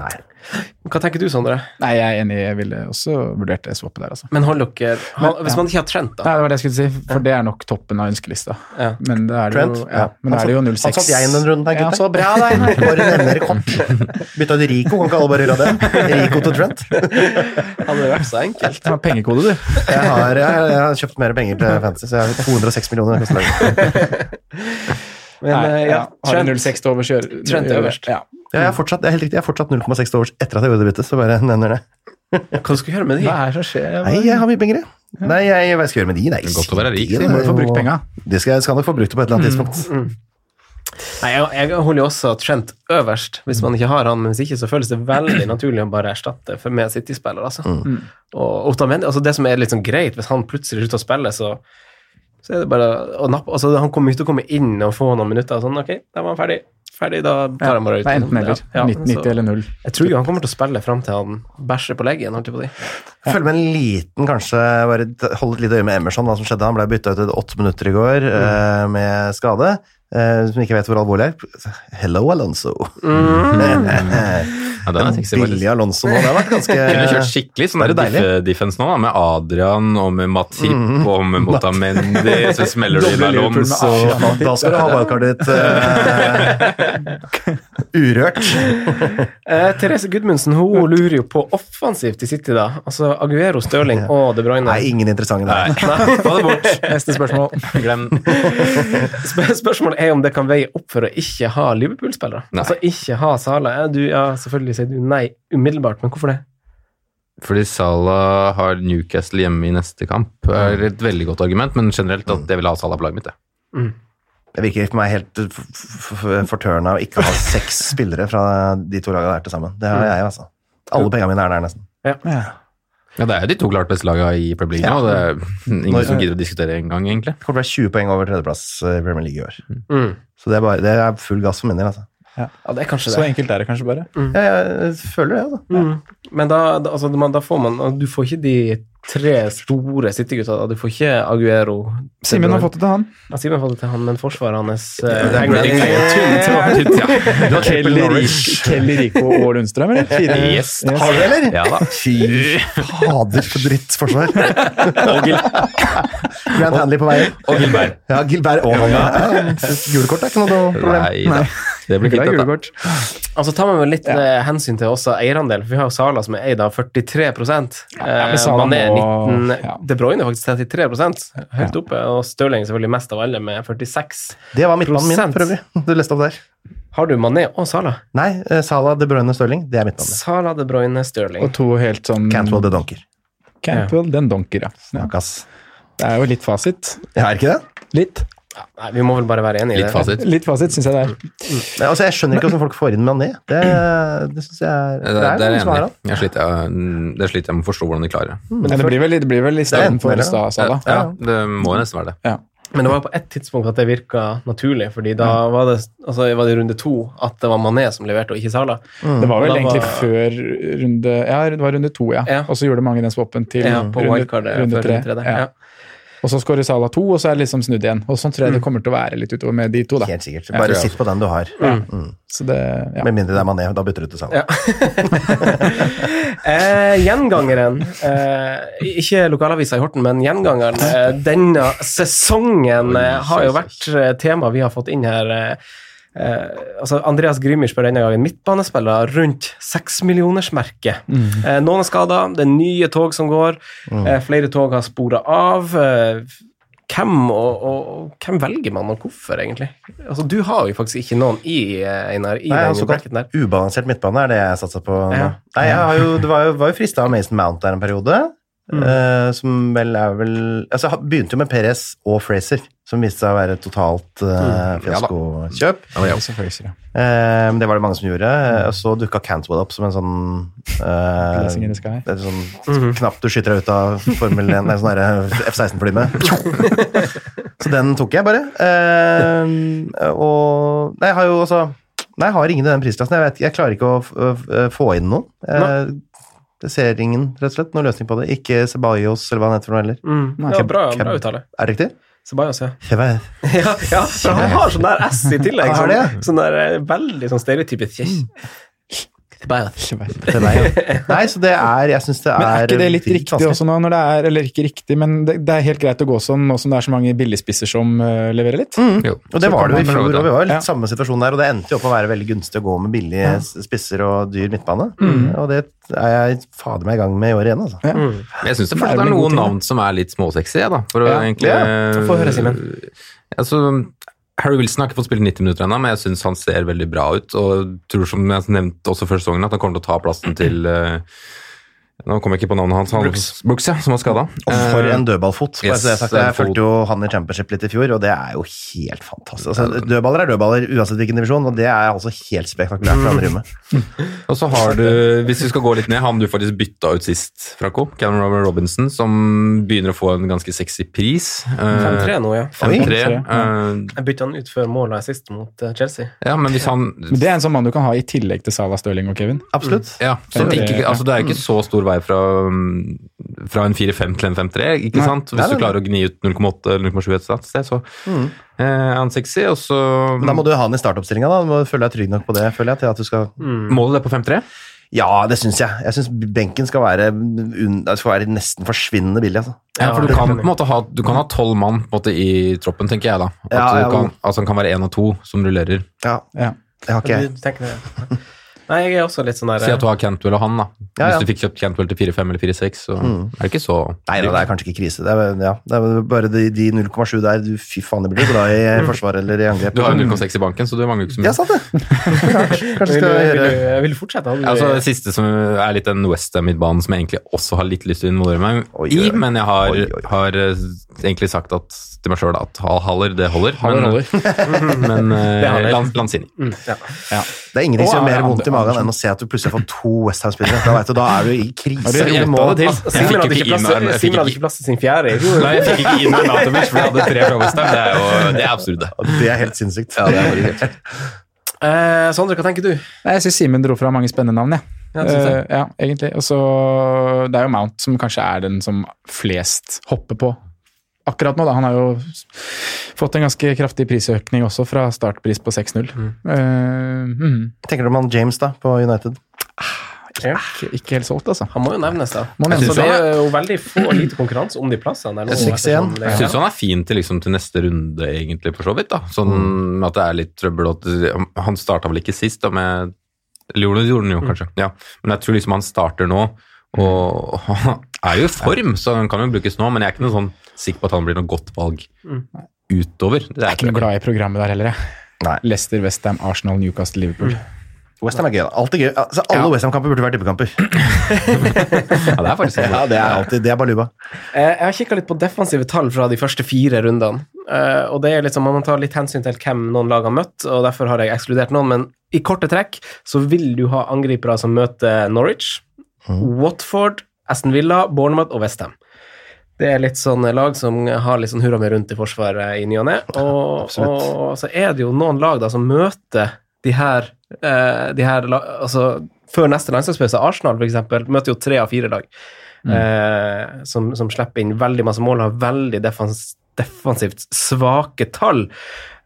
Speaker 3: Hva tenker du, Sondre?
Speaker 2: Nei, jeg er enig, jeg ville også vurdert det swappet der, altså.
Speaker 3: Men hold dere han, Hvis man ikke har trent, da.
Speaker 2: Nei, det var det jeg skulle si, for det er nok toppen av ønskelista.
Speaker 3: Ja.
Speaker 2: Men det er det
Speaker 4: Trent?
Speaker 2: jo, ja,
Speaker 4: Han
Speaker 2: men det er det jo
Speaker 4: satt-
Speaker 2: 06.
Speaker 4: Han satt jeg inn den runden,
Speaker 2: Ja,
Speaker 4: her,
Speaker 2: så
Speaker 4: gutter.
Speaker 2: bra da, Einar.
Speaker 4: *laughs* Bare nevner det kort. Bytta ut Rico, kan ikke alle bare gjøre det? Rico til Trent.
Speaker 3: Hadde det vært så enkelt.
Speaker 2: Det var pengekode, du.
Speaker 4: Jeg har, jeg, jeg har kjøpt mer penger til Fantasy, så jeg har 206 millioner. koster det.
Speaker 3: Men
Speaker 2: Nei,
Speaker 3: eh,
Speaker 2: ja, har du
Speaker 3: Trent-
Speaker 2: 06 til overs, gjør
Speaker 3: Trent er
Speaker 2: gjør-
Speaker 3: øverst.
Speaker 2: Ja.
Speaker 4: Ja, jeg er fortsatt, det er helt riktig, jeg er fortsatt 0,6 til års etter at jeg gjorde det byttet, så bare nevner det.
Speaker 3: Hva skal du gjøre med de?
Speaker 2: Hva er det som skjer?
Speaker 4: Nei, jeg har mye penger, jeg. Nei, jeg, hva jeg skal gjøre med de? Nei,
Speaker 1: Godt å være rik,
Speaker 4: de,
Speaker 1: sier
Speaker 2: Du må jo få brukt penga. Mm.
Speaker 4: De skal, jeg skal nok få brukt det på et eller annet tidspunkt.
Speaker 3: Nei, jeg, jeg holder jo også Trent øverst, hvis man ikke har han. Men hvis ikke, så føles det veldig naturlig å bare erstatte for med City-spiller. Altså.
Speaker 2: Mm.
Speaker 3: Og Otamendi, altså det som er litt sånn greit, hvis han plutselig slutter å spille, så, så er det bare å nappe altså, Han kommer jo ikke til å komme inn og få noen minutter. og Sånn, ok, da var han ferdig. Ferdig, da tar han bare ut.
Speaker 2: Det er enten eller.
Speaker 3: Ja,
Speaker 2: 19, 90
Speaker 3: så
Speaker 2: eller 0.
Speaker 3: Jeg tror jo han kommer til å spille fram til han bæsjer på leggen. holdt jeg på å si.
Speaker 4: Følg med en liten, kanskje
Speaker 2: Mm.
Speaker 4: bare t- hold et lite øye med Emerson, hva som skjedde. Han ble bytta ut etter åtte minutter i går eh, med skade. eh, som ikke vet hvor alvorlig er. Hello, Alonso. *laughs*
Speaker 2: Mm.
Speaker 4: Mm.
Speaker 1: Ja, den er sexy,
Speaker 4: Billig
Speaker 1: faktisk.
Speaker 4: Alonso nå. Det har vært ganske
Speaker 1: Kunne kjørt
Speaker 4: *laughs*
Speaker 1: skikkelig sånn
Speaker 4: Det
Speaker 1: der
Speaker 4: er jo deilig. Mhm.
Speaker 1: diff- diffens nå, da, med Adrian og med Matip og med Motamendi. Så smeller du inn
Speaker 2: Doble Liverpool
Speaker 1: Alons
Speaker 2: med
Speaker 1: og
Speaker 2: Adrian.
Speaker 4: Da skal du ha wildcardet ditt
Speaker 1: *laughs*
Speaker 4: eh, urørt.
Speaker 3: Eh, Therese Gudmundsen hun lurer jo på offensivt i City, da. Altså Aguero, Stirling og De Bruyne.
Speaker 4: Nei, ingen interessante der. *laughs*
Speaker 1: Nei, få det bort.
Speaker 2: Neste spørsmål. *laughs*
Speaker 1: Glem
Speaker 3: Sp- Spørsmålet er om det kan veie opp for å ikke ha Liverpool-spillere.
Speaker 1: Nei.
Speaker 3: Altså ikke ha Sala. Ja, du, ja, selvfølgelig sier du nei umiddelbart, men hvorfor det?
Speaker 1: Fordi Salah har Newcastle hjemme i neste kamp, er et veldig godt argument. Men generelt at jeg vil ha Salah på laget mitt. jeg.
Speaker 4: Det virker for meg helt f- f- f- fortørna å ikke ha *laughs* seks spillere fra de to lagene der til sammen. Det har jeg, altså. Alle pengene mine er der, nesten.
Speaker 1: Ja, Det er jo de to klart beste lagene i Premier League nå. og Det er ingen som gidder å diskutere engang, egentlig.
Speaker 4: Det kommer til å være 20 poeng over tredjeplass eh, i Premier League i år.
Speaker 3: Mm.
Speaker 4: Så det er, bare, det er full gass for min del, altså.
Speaker 3: Ja, det er kanskje
Speaker 2: Så
Speaker 3: det.
Speaker 2: enkelt er det kanskje bare.
Speaker 4: Jeg, jeg føler det, altså.
Speaker 3: Mm. Men da, da, altså, man, da får man Du får ikke de tre store City-gutta. da. Du får ikke Aguero De
Speaker 2: Simen har
Speaker 3: Bruyne.
Speaker 2: fått det til han.
Speaker 3: Ja, Simen har fått det til han, men forsvaret hans eh,
Speaker 4: det er
Speaker 3: henger-
Speaker 4: Brady.
Speaker 3: henger tynt.
Speaker 1: Tynt, ja.
Speaker 4: Du har trippel Norwich.
Speaker 2: Kelly Rico *laughs* og Lundstrøm, eller? Fire.
Speaker 1: Yes.
Speaker 4: Har du det, eller?
Speaker 1: Ja da.
Speaker 4: Fy fader, for *laughs* drittforsvar.
Speaker 1: Og, Gil
Speaker 4: Grant Handley på veien.
Speaker 1: og Gilbert.
Speaker 4: Ja, Gilbert og han. Ja, Gule kort er ikke noe problem.
Speaker 1: Nei da. Det blir
Speaker 2: Det
Speaker 1: fint,
Speaker 2: er
Speaker 1: dette.
Speaker 2: gule kort.
Speaker 3: Altså tar man vel litt eh, hensyn til også eierandel, for vi har jo Sala som er eid av 43
Speaker 2: ja,
Speaker 3: eh,
Speaker 2: men Sala
Speaker 3: Mané
Speaker 2: må-
Speaker 3: 19
Speaker 2: ja.
Speaker 3: De Bruyne er faktisk 33 høyt oppe, og Stirling selvfølgelig mest av alle med 46
Speaker 4: Det var midtbanen min,
Speaker 3: Prosent.
Speaker 4: for øvrig. Du leste opp der.
Speaker 3: Har du Mané og Sala?
Speaker 4: Nei, eh, Salah, De Bruyne, Stirling. Det er midtbanen min.
Speaker 3: Sala, De Bruyne,
Speaker 2: Og
Speaker 3: Stirling.
Speaker 2: to helt sånn
Speaker 4: Cantwell de Donker.
Speaker 2: Cantwell, den donker, ja. ja.
Speaker 4: Akkas.
Speaker 2: Det er jo litt fasit.
Speaker 4: Jeg har ikke det.
Speaker 2: Litt.
Speaker 3: Nei, vi må vel bare være enige i
Speaker 1: Litt
Speaker 3: det.
Speaker 1: fasit.
Speaker 2: Litt fasit, syns jeg det er.
Speaker 4: Nei, Altså, jeg skjønner ikke hvordan folk får inn Mané. Det, det synes jeg er
Speaker 1: Det, det er
Speaker 4: noen
Speaker 1: jeg
Speaker 4: som har
Speaker 1: enig
Speaker 4: han.
Speaker 1: i. Jeg sliter- jeg- Det sliter jeg med å forstå hvordan de klarer.
Speaker 2: Men det blir vel, det blir vel i
Speaker 4: er enten
Speaker 2: stedet for
Speaker 4: eller.
Speaker 2: Stad Sala.
Speaker 1: Ja, det må nesten være det.
Speaker 2: Ja.
Speaker 3: Men det var jo på ett tidspunkt at det virka naturlig, fordi da var det, altså, var det i runde to at det var Mané som leverte, Mm. og ikke Sala.
Speaker 2: Det var vel
Speaker 3: Da var-
Speaker 2: egentlig før runde Ja, det var runde to, ja.
Speaker 3: Ja.
Speaker 2: Og så gjorde mange den swappen til
Speaker 3: Ja, på
Speaker 2: runde,
Speaker 3: wildcardet
Speaker 2: runde
Speaker 3: før
Speaker 2: tre.
Speaker 3: runde tre. der.
Speaker 2: Ja.
Speaker 3: Ja.
Speaker 2: Og så skårer Sala to, og så er det liksom snudd igjen. Og sånn
Speaker 3: Mm.
Speaker 2: tror jeg det kommer til å være litt utover med de to, da.
Speaker 4: Helt sikkert. Bare sitt på den du har.
Speaker 2: Så det, ja.
Speaker 4: Med mindre det er Mané, da bytter du til
Speaker 3: Ja.
Speaker 4: Salah.
Speaker 3: Eh, gjengangeren eh, Ikke lokalavisa i Horten, men gjengangeren eh, denne sesongen eh, har jo vært eh, tema vi har fått inn her. Eh, eh, altså Andreas Grymir spør denne gangen midtbanespillere rundt seksmillionersmerket. Eh, noen er skada, det er nye tog som går, eh, flere tog har spora av. Eh, hvem, og, og, og hvem velger man, og hvorfor, egentlig? Altså, Du har jo faktisk ikke noen i, eh, Einar, i
Speaker 4: Nei,
Speaker 3: den
Speaker 4: altså,
Speaker 3: bracketen der.
Speaker 4: Ubalansert midtbane er det jeg satser på. nå.
Speaker 3: Ja.
Speaker 4: Nei, jeg har jo, det var jo, var jo frista av Mason Mount der en periode. eh, som vel er vel Altså, ha- begynte jo med Perez og Fraser, som viste seg å være totalt uh,
Speaker 1: Ja da.
Speaker 4: fiaskokjøp.
Speaker 1: Ja, men ja.
Speaker 2: Så Fraser, ja.
Speaker 4: Eh, det var det mange som gjorde. eh, Og så dukka Cantwell opp som en sånn eh,
Speaker 2: Blessing in the sky.
Speaker 4: Det er sånn
Speaker 2: Mhm.
Speaker 4: knapp du skyter deg ut av Formel 1, nei, sånn der F-16-fly
Speaker 2: *laughs*
Speaker 4: med. Så den tok jeg bare. Eh, og Nei, jeg har jo også Nei, jeg har ingen i den prisklassen. Jeg, vet, jeg klarer ikke å f- f- få inn noen. Eh, Jeg, det ser ingen, rett og slett, noen løsning på det. Ikke Ceballos eller hva han heter for noe heller.
Speaker 3: Mm.
Speaker 2: Nei.
Speaker 3: det var bra,
Speaker 4: Keb-
Speaker 3: bra uttale.
Speaker 4: Er det riktig?
Speaker 3: Sebajos, ja.
Speaker 4: Jeg vet.
Speaker 3: *laughs* ja. Ja, for han har sånn der S i tillegg.
Speaker 4: Har
Speaker 3: Sånn,
Speaker 4: det?
Speaker 3: sånn der eh, veldig sånn stereotypisk Sebajos.
Speaker 4: Det er
Speaker 2: *laughs*
Speaker 4: meg. Nei, så det er Jeg syns det er
Speaker 2: Men er ikke det litt
Speaker 4: vilt
Speaker 2: riktig
Speaker 4: vanskelig.
Speaker 2: også nå, når det er, eller ikke riktig, men det, det er helt greit å gå sånn nå som det er så mange billigspisser som eh, leverer litt?
Speaker 3: Mm.
Speaker 1: Jo.
Speaker 4: Og det
Speaker 2: Så
Speaker 4: var
Speaker 2: kan
Speaker 4: det jo i fjor,
Speaker 2: man
Speaker 1: prøve det.
Speaker 4: og vi var jo litt
Speaker 2: Ja.
Speaker 4: samme situasjon der, og det endte jo opp med å være veldig gunstig å gå med billige s- spisser og dyr midtbane. Og det er jeg fader meg i gang med i år igjen, altså.
Speaker 2: Ja.
Speaker 1: Men Jeg syns det
Speaker 2: Det er
Speaker 1: fortsatt
Speaker 2: vel
Speaker 1: er
Speaker 2: en god
Speaker 1: noen
Speaker 2: ting, da.
Speaker 1: navn som er litt småsexy, jeg, da. For å
Speaker 2: Ja.
Speaker 1: egentlig
Speaker 4: Ja,
Speaker 3: få høre, Simen.
Speaker 1: Altså, Harry Wilson har ikke fått spille 90 minutter ennå, men jeg syns han ser veldig bra ut. Og tror, som jeg nevnte også før sesongen, at han kommer til å ta plassen til eh, Nå kom jeg ikke på navnet hans. Han, Brooks. ja, som var Eh, skada.
Speaker 4: Og for en dødballfot. bare
Speaker 1: yes,
Speaker 4: så det er sagt. Jeg
Speaker 1: dødballfot.
Speaker 4: fulgte jo han i championship litt i fjor, og det er jo helt fantastisk. Altså, dødballer er dødballer uansett hvilken divisjon, og det er altså helt spektakulært fra andre rommet.
Speaker 1: Og så har du, hvis vi skal gå litt ned, han du faktisk bytta ut sist, Franco. Cameron Robinson, som begynner å få en ganske sexy pris. Eh,
Speaker 3: 5-3 nå, ja.
Speaker 1: 5-3. eh,
Speaker 3: Jeg bytta han ut før målet jeg sist mot eh, Chelsea.
Speaker 1: ja, men hvis han
Speaker 2: Men det er en sånn mann du kan ha i tillegg til Sala, Stirling og Kevin.
Speaker 4: Absolutt.
Speaker 1: Ja, så det, er ikke, altså det er ikke så stor vei fra, mm, fra en 4-5 til en 5-3, ikke
Speaker 2: Nei.
Speaker 1: sant? Hvis
Speaker 4: Nei, nei,
Speaker 1: du klarer å gni ut 0,8 eller 0,7 et sted, så eh, er han sexy, og så
Speaker 4: Men da må du ha den i startoppstillinga. da. Du må føle deg trygg nok på det, føler jeg, til at du skal
Speaker 1: Målet er på 5-3?
Speaker 4: Ja, det syns jeg. Jeg syns benken skal være, un- det skal være nesten forsvinnende billig, altså.
Speaker 1: Ja, for du
Speaker 3: det
Speaker 1: kan
Speaker 3: kan
Speaker 1: på en måte ha du kan ha tolv mann på en måte i troppen, tenker jeg da. At
Speaker 4: Ja, ja,
Speaker 1: du kan, altså, han kan være én av to som rullerer.
Speaker 4: Ja,
Speaker 2: Ja.
Speaker 4: det har ikke jeg.
Speaker 3: Du tenker det. Nei, jeg er også litt sånn der
Speaker 1: Si at du har Cantwell og han, da.
Speaker 4: Ja, ja. Mm.
Speaker 1: Hvis du fikk kjøpt Cantwell til 4-5 eller 4-6, så er det ikke så
Speaker 4: Nei da, det er kanskje ikke krise. Det er, ja, det er bare de, de 0,7 der. Du, fy faen, det blir jo glad *laughs* i forsvar eller i angrep.
Speaker 1: Du har jo 0,6 i banken, så du mangler jo ikke så
Speaker 4: Ja,
Speaker 1: mye.
Speaker 4: sant det. *laughs* Kanskje,
Speaker 3: Vil
Speaker 4: kanskje
Speaker 3: du,
Speaker 4: skal jeg
Speaker 3: vil,
Speaker 4: gjøre
Speaker 3: du, vil du fortsette? Hadde du-
Speaker 1: Altså, det siste som er litt den Westham-midtbanen som jeg egentlig også har litt lyst til å involvere meg
Speaker 4: Oi,
Speaker 1: i,
Speaker 4: oi.
Speaker 1: men jeg har,
Speaker 4: Oi, oi.
Speaker 1: har eh, egentlig sagt at, til meg sjøl at Hal Haller, det holder.
Speaker 2: Haller
Speaker 1: men, *laughs* men eh,
Speaker 3: Det holder.
Speaker 1: Lan- Lanzini.
Speaker 3: Mm, ja.
Speaker 4: Det er ingenting som gjør
Speaker 2: Å,
Speaker 4: mer
Speaker 2: ja,
Speaker 4: vondt i
Speaker 2: Ander-
Speaker 4: magen enn å se at du plutselig får to Westham-spillere. Da, vet du, da er du i krise.
Speaker 2: Har du
Speaker 4: Du
Speaker 2: rota
Speaker 4: må-
Speaker 2: det til?
Speaker 3: Altså,
Speaker 1: Jeg
Speaker 3: Simen
Speaker 1: fikk ikke
Speaker 3: hadde ikke
Speaker 1: inn
Speaker 3: plass,
Speaker 1: her, men jeg fikk
Speaker 3: Simen hadde
Speaker 1: ikke-
Speaker 3: ikke plass til sin fjerde. Jo,
Speaker 1: Nei, jeg fikk ikke inn Arnatovic, for jeg hadde tre fra Westham. Det er jo det er absurd, det.
Speaker 4: Det er helt sinnssykt.
Speaker 3: Eh, Sondre, hva tenker du?
Speaker 2: Nei, Jeg syns Simen dro fra mange spennende navn, jeg.
Speaker 3: Ja, synes jeg.
Speaker 2: Eh, ja, egentlig. Og så Det er jo Mount som kanskje er den som flest hopper på akkurat nå. Da. Han har jo s- fått en ganske kraftig prisøkning også, fra startpris på 6-0. Eh, mhm.
Speaker 4: Tenker du om han James da, på United?
Speaker 2: ikke, ikke helt solgt, altså.
Speaker 3: Han må jo nevnes, da.
Speaker 2: Må nevnes.
Speaker 3: Så det er jo veldig få og lite konkurranse om de plassene. Der, nå,
Speaker 4: Jeg synes ikke
Speaker 3: ettersom
Speaker 4: igjen.
Speaker 3: det-
Speaker 1: Jeg syns han er fin til, liksom, til neste runde, egentlig, for så vidt. da. Sånn at det er litt trøbbel. og at- Han starta vel ikke sist, da, med Eller gjorde han- gjorde han jo, kanskje. Ja. Men jeg tror liksom han starter nå, og *laughs* han er jo i form, så han kan jo brukes nå. Men jeg er ikke noe sånn sikker på at han blir noe godt valg utover. Det er
Speaker 2: Jeg er ikke noe glad i programmet der heller, jeg.
Speaker 4: Nei.
Speaker 2: Leicester, Westham, Arsenal, Newcastle, Liverpool.
Speaker 4: Westham er gøy. da. Alt er gøy. Altså, alle
Speaker 2: Ja.
Speaker 4: Westham-kamper burde vært tippekamper.
Speaker 1: Ja, det er faktisk det.
Speaker 4: *laughs* Ja, det er alltid, det er baluba.
Speaker 3: Eh, Jeg har kikka litt på defensive tall fra de første fire rundene. Eh, og det er liksom, Man må ta litt hensyn til hvem noen lag har møtt, og derfor har jeg ekskludert noen. Men i korte trekk så vil du ha angripere som møter Norwich, Watford, Aston Villa, Bournemouth og Westham. Det er litt sånn lag som har litt sånn hurra med rundt i forsvaret i ny og ne. Og,
Speaker 4: absolutt.
Speaker 3: og så er det jo noen lag da som møter de her, eh, de her la- altså Før neste landslagspause, Arsenal f.eks., møter jo tre av fire lag eh, som, som slipper inn veldig masse mål, har veldig defens defensivt svake tall.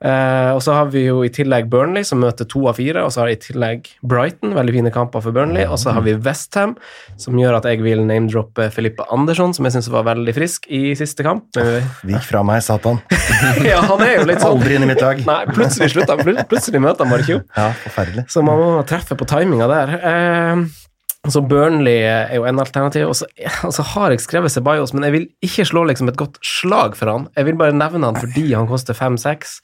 Speaker 3: Eh, og så har vi jo i tillegg Burnley, som møter to av fire, og så har jeg i tillegg Brighton, veldig fine kamper for Burnley, og så har vi Westham, som gjør at jeg vil name-droppe Filippe Andersson, som jeg syns var veldig frisk i siste kamp. Men-
Speaker 4: Vik fra meg, satan.
Speaker 3: *laughs* ja, han er jo litt sånn
Speaker 4: Aldri inn i mitt lag.
Speaker 3: Nei, plutselig slutta han. Plut- Plutselig møter han bare ikke opp.
Speaker 4: Ja, forferdelig.
Speaker 3: Så man må treffe på timinga der. Eh, så Burnley er jo en alternativ, og så, og så har jeg skrevet Ceballos, men jeg vil ikke slå liksom et godt slag for han. Jeg vil bare nevne han fordi han koster 5-6,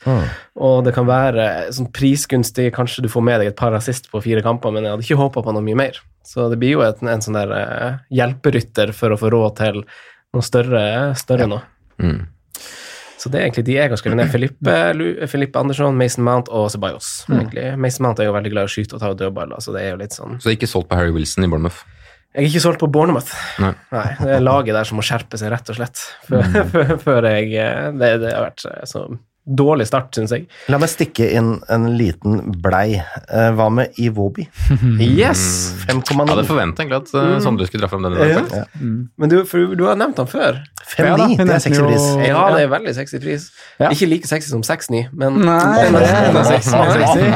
Speaker 3: og det kan være sånn prisgunstig, kanskje du får med deg et par assist på fire kamper, men jeg hadde ikke håpa på noe mye mer. Så det blir jo et, en sånn der eh, hjelperytter for å få råd til noe større, større nå.
Speaker 1: Mm.
Speaker 3: Så det er egentlig de jeg har skrevet ned. Filippe, Lu- Filippe Andersson, Mason Mount og Ceballos. egentlig. Mason Mount er jo veldig glad i å skyte og ta dødballer, så det er jo litt sånn
Speaker 1: Så det er ikke solgt på Harry Wilson i Bournemouth.
Speaker 3: Jeg er ikke solgt på Bournemouth.
Speaker 1: Nei.
Speaker 3: det er laget der som må skjerpe seg, rett og slett. Før, før- før jeg eh, det, det har vært eh, så dårlig start, syns jeg.
Speaker 4: La meg stikke inn en liten blei. Eh, Hva med Iwobi?
Speaker 3: Yes!
Speaker 4: 5,9.
Speaker 1: Jeg hadde forventa egentlig at eh, Sondre skulle dra fram den.
Speaker 3: Mm. Ja.
Speaker 1: faktisk.
Speaker 3: Men du, for du har nevnt han før.
Speaker 4: 5,9,
Speaker 2: Ja da,
Speaker 4: det er
Speaker 2: nesten
Speaker 4: sexy
Speaker 2: jo-
Speaker 4: pris.
Speaker 3: Ja, det er veldig sexy pris.
Speaker 2: Ja.
Speaker 3: Ikke like sexy som 6-9, men
Speaker 2: Nei,
Speaker 3: men-
Speaker 2: det er- det er sexy.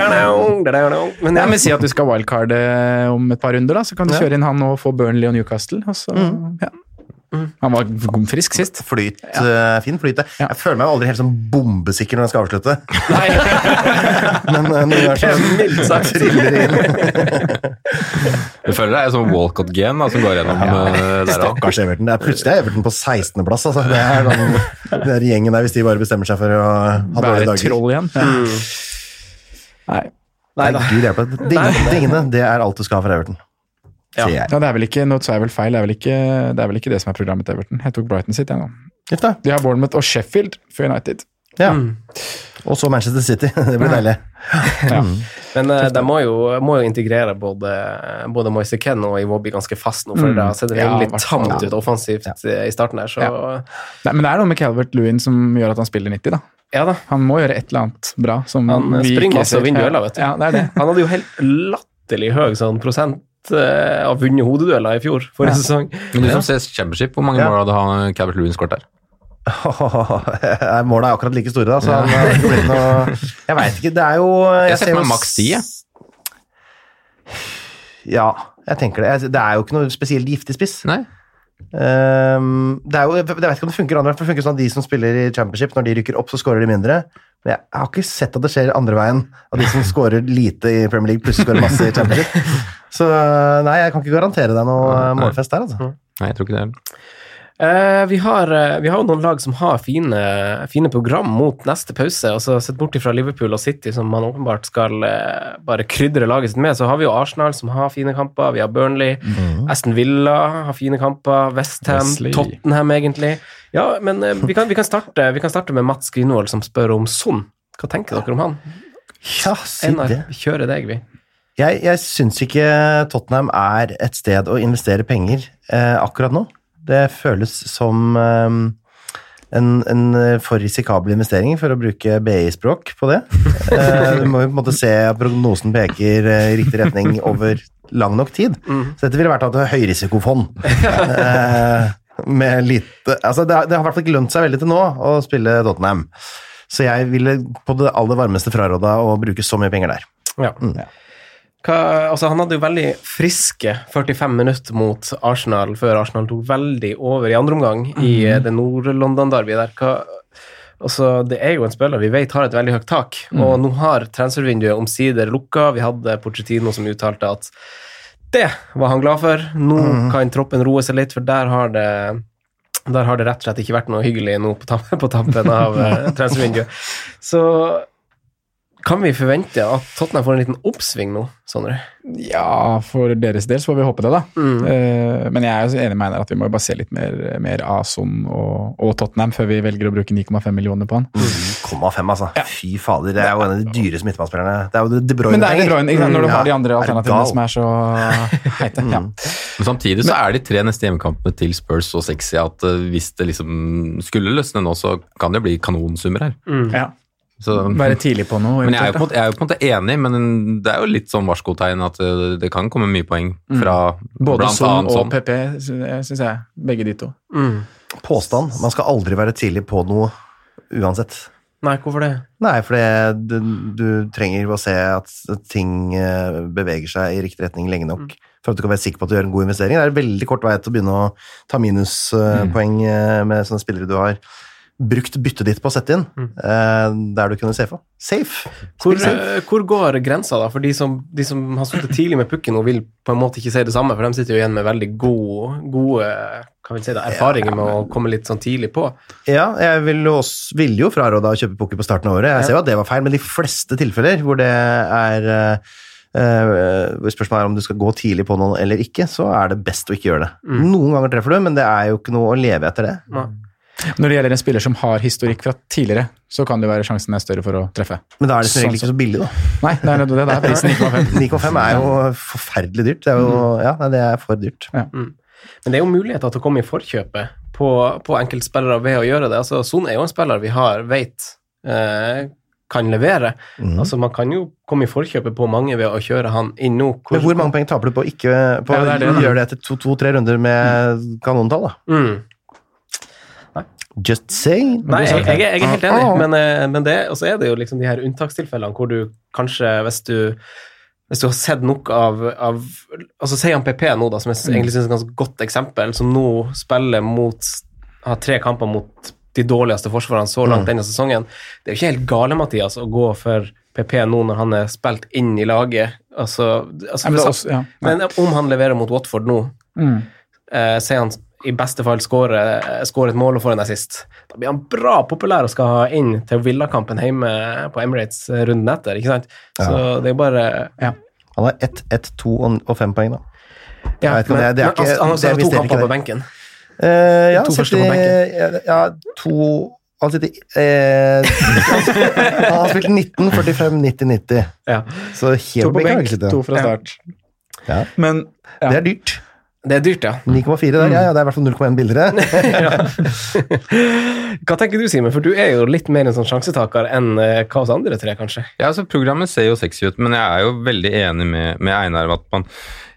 Speaker 3: Men
Speaker 2: Nei,
Speaker 3: ja,
Speaker 2: men Si at du skal wildcarde om et par runder, da, så kan du kjøre inn han og få Burnley og Newcastle. Og så, ja. Han var god frisk sist.
Speaker 4: Flyt, eh, fin flyt. det.
Speaker 2: Ja.
Speaker 4: Jeg føler meg jo aldri helt sånn bombesikker når jeg skal avslutte.
Speaker 3: nei.
Speaker 4: Men eh, når jeg er
Speaker 3: *laughs*
Speaker 4: sånn,
Speaker 3: Mildt sagt.
Speaker 4: triller inn
Speaker 1: Du føler det er sånn Walcott-gen da, som går gjennom eh, der òg.
Speaker 4: Stakkars Everton. Det er plutselig er Everton på 16.-plass. Altså. Det er den, den der gjengen der, hvis de bare bestemmer seg for å ha dårlige
Speaker 2: Være et
Speaker 4: dager. Mm.
Speaker 2: troll igjen. Ja. Nei.
Speaker 3: Nei
Speaker 4: Nei,
Speaker 3: da.
Speaker 4: Gud hjelpe. Ding- Dingene, det er alt du skal ha for Everton.
Speaker 3: Ja.
Speaker 4: Sier jeg.
Speaker 2: Ja, det er vel ikke, nå sa jeg vel feil, det er vel ikke det, er vel ikke det som er programmet til Everton. Jeg tok Brighton sitt, jeg nå.
Speaker 4: Gift, da.
Speaker 2: De har Bournemouth og Sheffield for United.
Speaker 4: Ja. Og så Manchester City. *laughs* Det blir deilig.
Speaker 2: Ja.
Speaker 3: Men eh, de må jo, må jo integrere både, både Moise Ken og Iwobi ganske fast nå, for det har sett
Speaker 2: Mm. Ja,
Speaker 3: veldig
Speaker 2: hvertfall.
Speaker 3: tamt ut offensivt eh, i starten der, så
Speaker 2: Nei, men det er noe med Calvert Lewin som gjør at han spiller 90, da.
Speaker 3: ja da.
Speaker 2: Han må gjøre et eller annet bra. Som
Speaker 3: Han, eh,
Speaker 2: vi
Speaker 3: springer
Speaker 2: ikke
Speaker 3: masse og
Speaker 2: ser.
Speaker 3: vinner
Speaker 2: Ja.
Speaker 3: dueller, vet du.
Speaker 2: Ja, det er det.
Speaker 3: Han hadde jo helt latterlig høy sånn prosent eh, har vunnet hodedueller i fjor, forrige sesong.
Speaker 1: Men du som ser Championship, hvor mange
Speaker 4: Ja.
Speaker 1: mål hadde han Cabert Lewin skåret der?
Speaker 4: *laughs* Nei, Målene er akkurat like store, da, så han har ikke blitt noe Jeg veit ikke, det er jo
Speaker 1: *laughs* Jeg ser
Speaker 4: ser
Speaker 1: for meg
Speaker 4: jo-
Speaker 1: maks 10, jeg.
Speaker 4: *sighs* Ja, jeg tenker det. Jeg- Det er jo ikke noe spesielt giftig spiss.
Speaker 1: Nei?
Speaker 4: Ehm, det er jo, jeg vet ikke om det funker andre veien, for det funker sånn at de som spiller i championship, når de rykker opp, så scorer de mindre. Men jeg har ikke sett at det skjer andre veien, at de som scorer lite i Premier League, plutselig scorer masse
Speaker 1: *laughs*
Speaker 4: i championship. Så eh, nei, jeg kan ikke garantere deg noe eh, målfest der, altså.
Speaker 1: Nei, jeg tror ikke det. er-
Speaker 3: Eh, vi, har, eh, vi har jo noen lag som har fine, fine program mot neste pause. altså Sett bort fra Liverpool og City, som man åpenbart skal eh, bare krydre laget sitt med, så har vi jo Arsenal, som har fine kamper. Vi har Burnley.
Speaker 1: Mm.
Speaker 3: Aston Villa har fine kamper. Westham.
Speaker 2: Wesley.
Speaker 3: Tottenham, egentlig. Ja, men eh, vi, kan, vi, kan starte, vi kan starte med Mats Grindvold, som spør om Son. Hva tenker dere om han?
Speaker 4: Ja, si
Speaker 3: Einar,
Speaker 4: det.
Speaker 3: vi kjører deg, vi.
Speaker 4: Jeg, jeg syns ikke Tottenham er et sted å investere penger eh, akkurat nå. Det føles som eh, en, en for risikabel investering, for å bruke BI-språk på det. Eh, du må jo på en måte se at prognosen peker eh, i riktig retning over lang nok tid. Så dette ville vært et høyrisikofond. Eh, med lite Altså, det har, det har i hvert fall ikke lønt seg veldig til nå å spille Tottenham. Så jeg ville på det aller varmeste fraråda å bruke så mye penger der.
Speaker 3: Ja. Hva, altså han hadde jo veldig friske 45 minutter mot Arsenal før Arsenal tok veldig over i andre omgang i eh, det Nord-London-derbyet der. Hva, altså, det er jo en spiller vi vet har et veldig høyt tak, og nå har transfervinduet omsider lukka. Vi hadde Pochettino som uttalte at det var han glad for. Nå kan troppen roe seg litt, for der har det der har det rett og slett ikke vært noe hyggelig nå på tam- på tampen av eh, transfervinduet. Så kan vi forvente at Tottenham får en liten oppsving nå, Sondre?
Speaker 2: Ja, for deres del så får vi håpe det, da. Eh, men jeg er jo så enig med Einar at vi må jo bare se litt mer, mer av Son og, og Tottenham før vi velger å bruke 9,5 millioner på han.
Speaker 4: 9,5, altså. Fy fader, det er jo en av de dyreste midtbanespillerne. Det er jo De Bruyne.
Speaker 2: Men det er
Speaker 4: der.
Speaker 2: De Bruyne ikke sant, når du har de andre
Speaker 4: Mm, Ja, er du
Speaker 2: alternativene
Speaker 4: gal?
Speaker 2: som er så heite. Ja.
Speaker 1: Men samtidig så er de tre neste hjemmekampene til Spurs så sexy at eh, hvis det liksom skulle løsne nå, så kan det bli kanonsummer her.
Speaker 2: Ja.
Speaker 1: Så,
Speaker 2: Være tidlig på noe.
Speaker 1: Men jeg er, jo på en
Speaker 2: eventuelt,
Speaker 1: måte, jeg er jo på en måte enig, men det er jo litt sånn varskotegn at eh, det kan komme mye poeng fra
Speaker 2: da. Mm. Både
Speaker 1: blant
Speaker 2: Son
Speaker 1: annet
Speaker 2: og
Speaker 1: sånn.
Speaker 2: PP, syns jeg. Begge de to.
Speaker 4: Påstand. Man skal aldri være tidlig på noe uansett.
Speaker 3: Nei, hvorfor det?
Speaker 4: Nei, for det, du, du trenger å se at ting eh, beveger seg i riktig retning lenge
Speaker 2: Mm.
Speaker 4: nok for at du kan være sikker på at du gjør en god investering. Det er veldig kort vei til å begynne å ta minuspoeng
Speaker 2: Mm.
Speaker 4: eh, med sånne spillere du har brukt byttet ditt på å sette inn,
Speaker 2: Mm.
Speaker 4: eh, der du kunne safe. Safe!
Speaker 3: Hvor,
Speaker 4: Spill safe.
Speaker 3: eh, hvor går grensa, da? For de som, de som har sittet tidlig med pukken og vil på en måte ikke si det samme, for de sitter jo igjen med veldig gode, gode hva vil jeg si da, erfaringer med å komme litt sånn tidlig på.
Speaker 4: Ja, jeg vil jo også, ville jo fraråda å kjøpe poker på starten av året. Jeg ser jo at det var feil, men de fleste tilfeller hvor det er eh, eh, hvor Spørsmålet er om du skal gå tidlig på noen eller ikke, så er det best å ikke gjøre det.
Speaker 2: Mm.
Speaker 4: Noen ganger treffer du, men det er jo ikke noe å leve etter det.
Speaker 2: Når det gjelder en spiller som har historikk fra tidligere, så kan det jo være sjansen er større for å treffe.
Speaker 4: Men da er det som regel ikke
Speaker 2: Sånn
Speaker 4: så billig, da.
Speaker 2: Nei, det er det, det er
Speaker 4: *laughs*
Speaker 2: prisen 9,5.
Speaker 4: 9,5 er jo forferdelig dyrt. Det er jo
Speaker 2: Mm.
Speaker 4: ja, nei, det er for dyrt.
Speaker 3: Men det er jo muligheter til å komme i forkjøpet på, på enkeltspillere ved å gjøre det. Altså, Son er jo en spiller vi har, vet eh, kan levere.
Speaker 4: Mhm.
Speaker 3: Altså, Man kan jo komme i forkjøpet på mange ved å kjøre han inn nå. Hvor-
Speaker 4: Men hvor mange penger taper du på å ikke på,
Speaker 2: Ja, det er det, da.
Speaker 4: gjøre det etter to-tre runder med kanontall, da?
Speaker 3: Mm.
Speaker 4: Just saying.
Speaker 3: Nei, jeg, jeg, er- jeg er helt enig,
Speaker 4: Ah.
Speaker 3: men, eh, men det, og så er det jo liksom de her unntakstilfellene hvor du kanskje, hvis du hvis du har sett nok av, av altså Sier han PP nå, da, som jeg
Speaker 2: Mm.
Speaker 3: synes- egentlig synes er et ganske godt eksempel, som nå spiller mot har tre kamper mot de dårligste forsvarene så
Speaker 2: Mm.
Speaker 3: langt denne sesongen. Det er jo ikke helt gale, Mathias, å gå for PP nå når han er spilt inn i laget. Altså, altså,
Speaker 2: Nei, men det er også- ja.
Speaker 3: men om han leverer mot Watford nå,
Speaker 2: Mm.
Speaker 3: eh, sier han i beste fall skårer skårer et mål og får en assist. Da blir han bra populær og skal ha inn til villakampen hjemme på Emirates eh, runden etter. ikke sant? Så det er bare
Speaker 2: Ja.
Speaker 4: Han har ett, ett, to og og fem poeng, da.
Speaker 3: ja,
Speaker 4: vet ikke om det er- det er ikke-
Speaker 3: altså, Han har
Speaker 4: det er
Speaker 3: også
Speaker 4: visst
Speaker 3: to
Speaker 4: ikke
Speaker 3: kamper på
Speaker 4: det.
Speaker 3: benken.
Speaker 4: Eh, ja,
Speaker 3: To
Speaker 4: han
Speaker 3: første
Speaker 4: sitter,
Speaker 3: på
Speaker 4: i- ja, to Han sitter i- eh, Han har spilt 19, 45, 90, 90.
Speaker 3: Ja.
Speaker 4: Så helt
Speaker 2: To på
Speaker 4: benk har han
Speaker 2: benk,
Speaker 4: ikke sittet.
Speaker 2: to fra start.
Speaker 4: Ja.
Speaker 2: Men
Speaker 4: Det er dyrt.
Speaker 3: Det er dyrt, ja.
Speaker 4: 9,4 der, ja, ja, det er i hvert fall 0,1 billigere.
Speaker 2: *laughs*
Speaker 3: Hva tenker du, Simen? For du er jo litt mer en sånn sjansetaker enn eh, hva oss andre tre, kanskje.
Speaker 1: Ja, altså Programmet ser jo sexy ut, men jeg er jo veldig enig med, med Einar om at man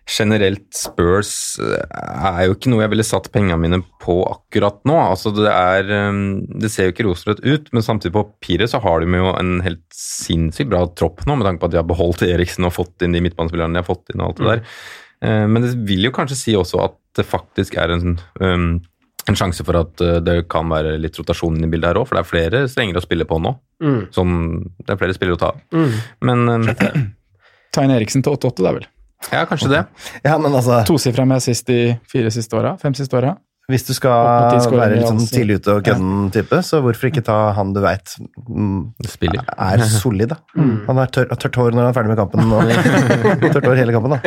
Speaker 1: generelt Spurs eh, er jo ikke noe jeg ville satt pengene mine på akkurat nå. Altså det, er, um, det ser jo ikke rosenrødt ut, men samtidig på papiret så har de jo en helt sinnssykt bra tropp nå, med tanke på at de har beholdt Eriksen og fått inn de midtbanespillerne de har fått inn. og alt det der. Eh, Men det vil jo kanskje si også at det faktisk er en, um, en sjanse for at eh, det kan være litt rotasjon inn i bildet her òg, for det er flere strenger å spille på nå.
Speaker 3: Mm.
Speaker 1: Som Sånn, det er flere spillere å ta av.
Speaker 3: Mm.
Speaker 1: Men um,
Speaker 2: Ta inn Eriksen til 8-8, det er vel.
Speaker 1: ja, kanskje det.
Speaker 4: Ja, men altså,
Speaker 2: Tosifra med assist de fire siste åra. Fem siste åra.
Speaker 4: hvis du
Speaker 2: Opp mot
Speaker 4: skal
Speaker 2: ti skåringer,
Speaker 4: være litt sånn
Speaker 2: altså.
Speaker 4: tidlig ute og kødden-type, så hvorfor ikke ta han du veit
Speaker 1: Spiller.
Speaker 2: *laughs*
Speaker 4: er solid, da?
Speaker 2: Mm.
Speaker 4: Han har tør- har tørt hår når han er ferdig med kampen.
Speaker 2: *laughs*
Speaker 4: Og tørt hår hele kampen, da.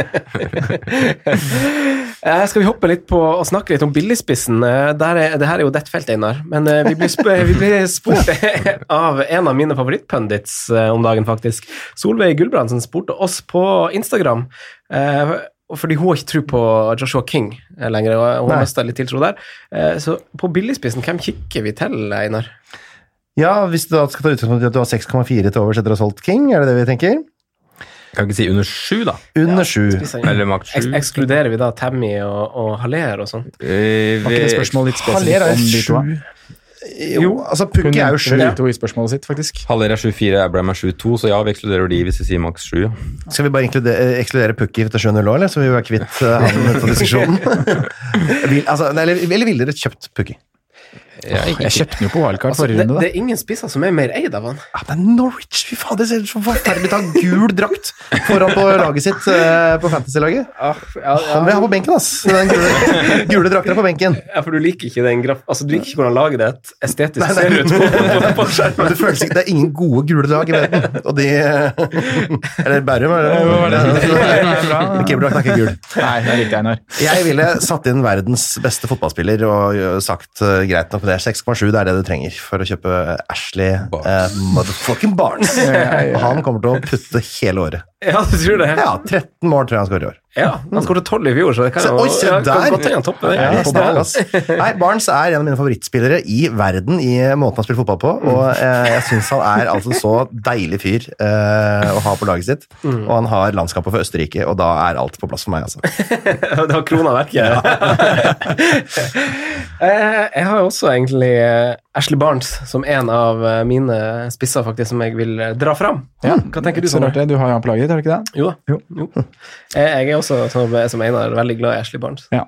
Speaker 3: Eh, skal vi hoppe litt på og snakke litt om billigspissen? Eh, der er, det her er jo ditt felt, Einar. Men eh, vi blir, sp vi blir spurt *laughs* av en av mine favorittpundits eh, om dagen, faktisk. Solveig Gulbrandsen spurte oss på Instagram. Eh, og fordi hun har ikke tro på Joshua King eh, lenger. og Hun
Speaker 4: Nei.
Speaker 3: har mista litt tiltro der. Eh, så på billigspissen, hvem kikker vi til, Einar?
Speaker 4: Ja, hvis du da skal ta utgangspunkt i at du har 6,4 til overs etter å ha solgt King, er det det vi tenker?
Speaker 1: Kan ikke si under sju, da.
Speaker 4: Under
Speaker 3: Ja,
Speaker 4: sju.
Speaker 3: spissen.
Speaker 1: Eller makt
Speaker 3: Eks
Speaker 1: sju.
Speaker 3: ekskluderer vi da Tammy og, og Haller og sånn?
Speaker 1: Eh,
Speaker 2: Var ikke det
Speaker 1: vi-
Speaker 2: spørsmålet litt
Speaker 4: Haller er
Speaker 2: spesifikt om de to? da?
Speaker 4: sju. Jo, altså Pukki
Speaker 2: Hun
Speaker 4: er jo
Speaker 2: nevnte
Speaker 4: sju.
Speaker 2: de to i spørsmålet sitt, faktisk.
Speaker 1: Haller er 7-4, Abraham er 7-2, så ja, vi ekskluderer de hvis vi sier maks 7. Ja.
Speaker 4: Skal vi bare inkludere, eh, ekskludere Pukki til 7-0 òg, eller? Så vi var kvitt eh, *laughs* han på diskusjonen. Vil, altså, nei, eller, eller ville dere kjøpt Pukki?
Speaker 2: Jeg kjøpte den jo på wildcard
Speaker 3: Altså,
Speaker 2: forrige
Speaker 3: det,
Speaker 2: runde,
Speaker 3: det
Speaker 2: da.
Speaker 3: er ingen spisser som er mer eid av han.
Speaker 4: Ja, det er Norwich! Fy faen, det ser ut som forferdelig ut. Han har gul drakt foran på laget sitt eh, på Fantasy-laget. Han vil jeg ha på benken, ass! Den gule, *laughs* gule drakten er på benken.
Speaker 3: Ja, for du liker ikke den graf... Altså, du liker ikke hvordan laget ditt estetisk
Speaker 4: Nei, nei.
Speaker 3: ser ut på, på, på skjermen.
Speaker 4: Men det, føles ikke, det er ingen gode gule lag i verden, og de *laughs* Eller Bærum, er det?
Speaker 2: Ja, det var det.
Speaker 4: Men Keeperdrakten er ikke gul.
Speaker 2: Nei, det er riktig, Einar.
Speaker 4: Jeg ville satt inn verdens beste fotballspiller og ø, sagt ø, greit nok med det. 6,7 det er det du trenger for å kjøpe Ashley
Speaker 1: Barnes.
Speaker 4: eh, motherfucking Barnes. Og han kommer til å putte hele året.
Speaker 3: Ja, du tror det?
Speaker 4: Ja, 13 mål tror jeg han skårer i år.
Speaker 3: Ja, Han skåret tolv i fjor, så det kan
Speaker 4: Se,
Speaker 3: jo
Speaker 4: oi, se
Speaker 3: ja, kan
Speaker 4: der!
Speaker 3: godt hende han topper det.
Speaker 4: Ja,
Speaker 3: Ja,
Speaker 4: på ball, ass. Nei, Barnes er en av mine favorittspillere i verden i måten han spiller fotball på. Og eh, jeg syns han er altså så deilig fyr eh, å ha på laget sitt. Og han har landskapet for Østerrike, og da er alt på plass for meg, altså.
Speaker 3: Det har krona verket. Eh, jeg har jo også egentlig eh, Ashley Barnes som en av eh, mine spisser faktisk som jeg vil eh, dra fram. Hva tenker du,
Speaker 2: Så
Speaker 3: Sondre?
Speaker 2: rart det. Sånn Du har jo han på laget, ditt, har du ikke det?
Speaker 3: Jo da.
Speaker 2: Jo.
Speaker 3: Jo. Eh, Jeg er også, som, som Einar, veldig glad i Ashley Barnes.
Speaker 2: Ja.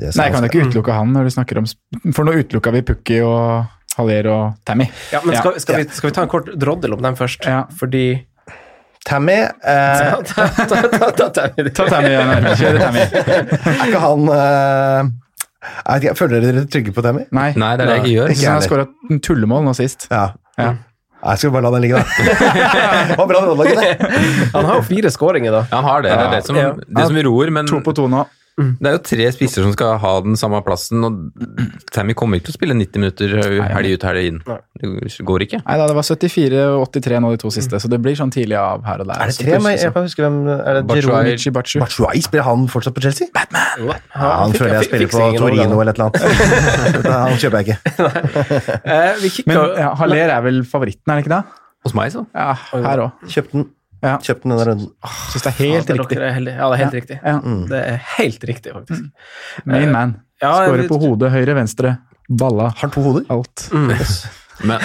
Speaker 4: Det
Speaker 2: Nei, jeg
Speaker 4: skal-
Speaker 2: kan jo
Speaker 1: Mm.
Speaker 2: ikke utelukke han når du snakker om sp- For nå utelukka vi Pukki og Haller og Tammy.
Speaker 3: Ja, men skal, skal, vi, skal vi ta en kort droddel om dem først?
Speaker 2: Ja.
Speaker 3: Fordi
Speaker 4: Tammy eh,
Speaker 3: Ta- ta- ta- ta- ta- ta-
Speaker 2: Ta Tammy, Einar. Kjør Tammy.
Speaker 4: Er ikke han eh, jeg vet ikke, Føler dere dere trygge på Tammy?
Speaker 2: Nei.
Speaker 1: Nei, det er det jeg ikke gjør.
Speaker 2: Jeg synes han har skåra tullemål nå sist.
Speaker 4: Ja.
Speaker 2: Ja.
Speaker 4: Jeg skal bare la den ligge, da.
Speaker 2: *laughs*
Speaker 4: Det var bra rådlag, det.
Speaker 3: Han har jo fire skåringer, da.
Speaker 1: Ja, han har det. Det er det som,
Speaker 3: Ja.
Speaker 1: det som ror, men
Speaker 2: To på to nå.
Speaker 1: det er jo tre spisser som skal ha den samme plassen, og Tammy kommer ikke til å spille 90 minutter helg ut, helg inn. Det går ikke.
Speaker 2: Nei da, det var 74 og 83 nå de to siste, så det blir sånn tidlig av her og
Speaker 4: *laughs*
Speaker 2: der.
Speaker 4: Er det tre? Men jeg kan huske hvem er det
Speaker 1: Batshuayi.
Speaker 4: Jerome
Speaker 2: Michi Bachu.
Speaker 4: Batshuayi, spiller han fortsatt på Chelsea?
Speaker 3: Ja,
Speaker 4: Ja, han
Speaker 3: fikk-
Speaker 4: føler jeg
Speaker 3: fikk-
Speaker 4: spiller
Speaker 3: fikk
Speaker 4: på
Speaker 3: ingen
Speaker 4: Torino
Speaker 3: overgang.
Speaker 4: eller et eller *laughs* annet. Nei, han kjøper jeg ikke.
Speaker 3: Eh, vi kikker,
Speaker 2: Men ja, Haller er vel favoritten, er det ikke det?
Speaker 1: Hos meg, så.
Speaker 2: Ja, her òg.
Speaker 4: Kjøpt den.
Speaker 2: Ja.
Speaker 4: Kjøpt den denne runden.
Speaker 2: Syns det er helt
Speaker 3: Ja,
Speaker 2: riktig.
Speaker 3: dere er heldige. Ja, det er helt riktig.
Speaker 2: Ja.
Speaker 3: Det er helt riktig, faktisk.
Speaker 2: Main man.
Speaker 3: Ja,
Speaker 2: Skårer
Speaker 3: det-
Speaker 2: på hodet, høyre, venstre. Balla.
Speaker 4: Har han to hoder?
Speaker 2: Alt.
Speaker 1: Men,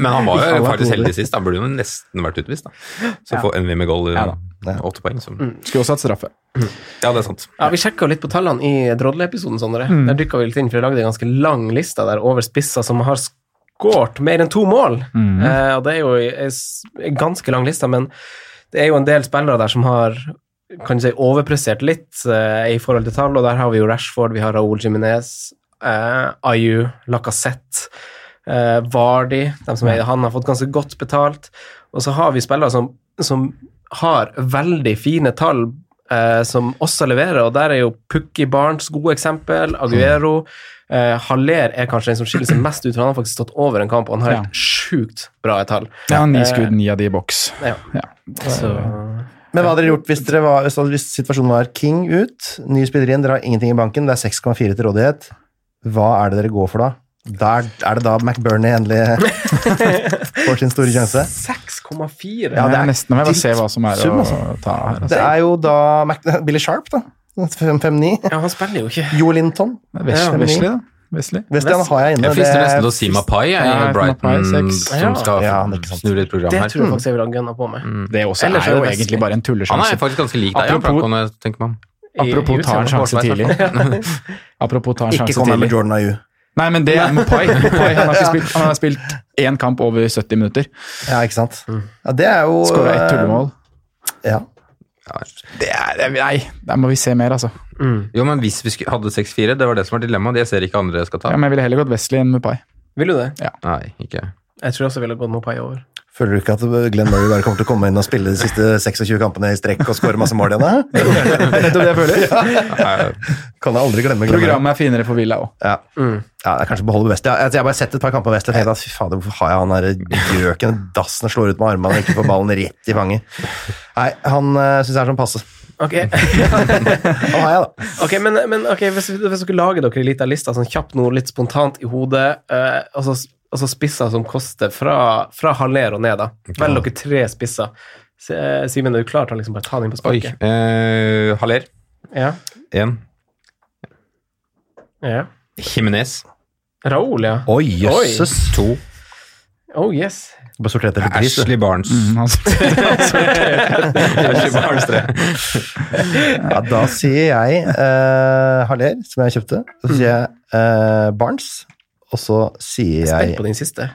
Speaker 1: men han var
Speaker 2: Alle
Speaker 1: jo
Speaker 2: er
Speaker 1: faktisk
Speaker 2: hoder.
Speaker 1: heldig sist. Han burde jo nesten vært utvist, da. Så få Envy med goal
Speaker 2: Ja,
Speaker 1: i åtte poeng, så
Speaker 2: Skulle også hatt straffe.
Speaker 1: Ja, det er sant.
Speaker 3: Ja, Vi sjekka litt på tallene i Drodle-episoden, Sondre. Der dykka vi litt inn, for vi lagde en ganske lang liste der over spisser som har skåret mer enn to mål. Eh, og det er jo en s- en ganske lang liste, men det er jo en del spillere der som har kan du si, overprestert litt eh, i forhold til tall, og der har vi jo Rashford, vi har Raúl Jiminez, eh, Ayu, Lacassette, eh, Vardy dem som er, Han har fått ganske godt betalt. Og så har vi spillere som, som har veldig fine tall, eh, som også leverer, og der er jo Pukki Barnes gode eksempel, Aguero. Eh, Haller er kanskje den som skiller seg mest ut, for han har faktisk stått over en kamp, og han har
Speaker 2: Ja.
Speaker 3: helt sjukt bra tall.
Speaker 2: Ja, Ni
Speaker 3: Eh,
Speaker 2: skudd, ni av de i boks.
Speaker 3: Ja.
Speaker 2: Ja.
Speaker 3: Så-
Speaker 4: Men hva hadde dere gjort hvis, dere var, hvis- hvis situasjonen var King ut, ny spiller inn, dere har ingenting i banken, det er 6,4 til rådighet. Hva er det dere går for da? Der, er det da McBurney
Speaker 2: *laughs*
Speaker 4: endelig får sin store sjanse?
Speaker 3: 6,4.
Speaker 4: Ja,
Speaker 2: Ja,
Speaker 4: det
Speaker 2: det
Speaker 4: er
Speaker 2: er nesten om jeg bare
Speaker 4: dritt
Speaker 2: ser hva som er
Speaker 4: sum,
Speaker 2: å
Speaker 4: altså.
Speaker 2: ta her.
Speaker 4: Det
Speaker 2: Altså.
Speaker 4: er jo da Mac *laughs* Billy Sharp, da. 5-9.
Speaker 3: Ja, han spiller jo ikke.
Speaker 4: *laughs* Jo Linton.
Speaker 2: Wesley,
Speaker 3: Ja,
Speaker 2: Wesley, da. Wesley.
Speaker 4: Western har jeg inne.
Speaker 1: Jeg frister
Speaker 4: det er-
Speaker 1: nesten til å si Mapai jeg, i
Speaker 2: Ja,
Speaker 1: Brighton,
Speaker 2: Mapai, seks.
Speaker 1: som skal
Speaker 4: Ja, det er ikke sant.
Speaker 1: snu litt program
Speaker 3: Det
Speaker 1: her.
Speaker 3: tror jeg faktisk jeg ville ha gunna på meg.
Speaker 2: Det også
Speaker 3: Ellers
Speaker 2: er
Speaker 3: er
Speaker 2: jo
Speaker 3: det Wesley.
Speaker 2: egentlig bare en
Speaker 1: Han er
Speaker 2: tullesjanse.
Speaker 1: faktisk ganske lik deg,
Speaker 2: Apropos-
Speaker 1: ja, Franco, når jeg tenker meg om.
Speaker 3: I- i
Speaker 2: Apropos ta en
Speaker 3: utseendet.
Speaker 2: sjanse
Speaker 1: Forsvarsverk,
Speaker 2: tidlig. *laughs* Apropos ta en
Speaker 4: Ikke
Speaker 2: sjanse
Speaker 4: kom her med
Speaker 2: tidlig.
Speaker 4: Jordan Ayew.
Speaker 2: Nei, men det er Mopai. Mopai han, har ikke
Speaker 3: *laughs*
Speaker 2: spilt, han har spilt én kamp over 70 minutter.
Speaker 4: Ja, ikke sant. Ja, det er jo eh,
Speaker 2: Skåra ett tullemål.
Speaker 4: Ja.
Speaker 2: Det er, nei, der må vi se mer, altså.
Speaker 3: Mm.
Speaker 1: Jo, men hvis vi skulle, hadde 6-4, det var det som var dilemmaet. Jeg ser ikke andre jeg skal ta.
Speaker 2: Ja, men jeg ville heller gått Wesley enn Mopai.
Speaker 3: Vil du det?
Speaker 1: Nei, ikke.
Speaker 3: Jeg tror også jeg ville gått Mopai over.
Speaker 4: Føler du ikke at Glenn Murray bare kommer til å komme inn og spille de siste 26 kampene i strekk og skåre masse mål igjen?
Speaker 2: *laughs*
Speaker 4: hæ?
Speaker 2: Nettopp det jeg føler.
Speaker 4: Kan jeg aldri glemme Glenn Murray.
Speaker 2: Programmet er finere for Villa òg.
Speaker 4: Ja. ja, jeg kanskje beholder West. Jeg, jeg har bare sett et par kamper på West og tenkt at fy fader, hvorfor har jeg han der gjøken? Dassen slår ut med armene og ikke får ballen rett i fanget. Nei, han uh, syns jeg er sånn passe.
Speaker 3: Ok,
Speaker 4: Han har jeg, da.
Speaker 3: ok, men, men ok, hvis, hvis dere lager dere en liten liste sånn kjapt nå, litt spontant i hodet, eh, og så og så spisser som koster fra, fra Haller og ned, da. Velg dere tre spisser. S- eh, Simen, er du klar til å liksom bare ta den inn på
Speaker 1: Oi.
Speaker 3: sparket?
Speaker 1: Eh, Haller.
Speaker 3: Ja.
Speaker 1: Én.
Speaker 3: ja.
Speaker 1: Jimenez.
Speaker 3: Raoul, ja.
Speaker 4: Oi, jøsses.
Speaker 1: To.
Speaker 3: Oh yes.
Speaker 4: Bare sortert etter pris. du.
Speaker 1: Ashley Barnes. *laughs*
Speaker 2: Mhm. Mm,
Speaker 1: Ashley Barnes tre.
Speaker 4: Ja, da sier jeg eh, Haller, som jeg kjøpte. Så sier jeg eh, Barnes. Og så sier
Speaker 3: Spent
Speaker 4: jeg
Speaker 3: på din siste.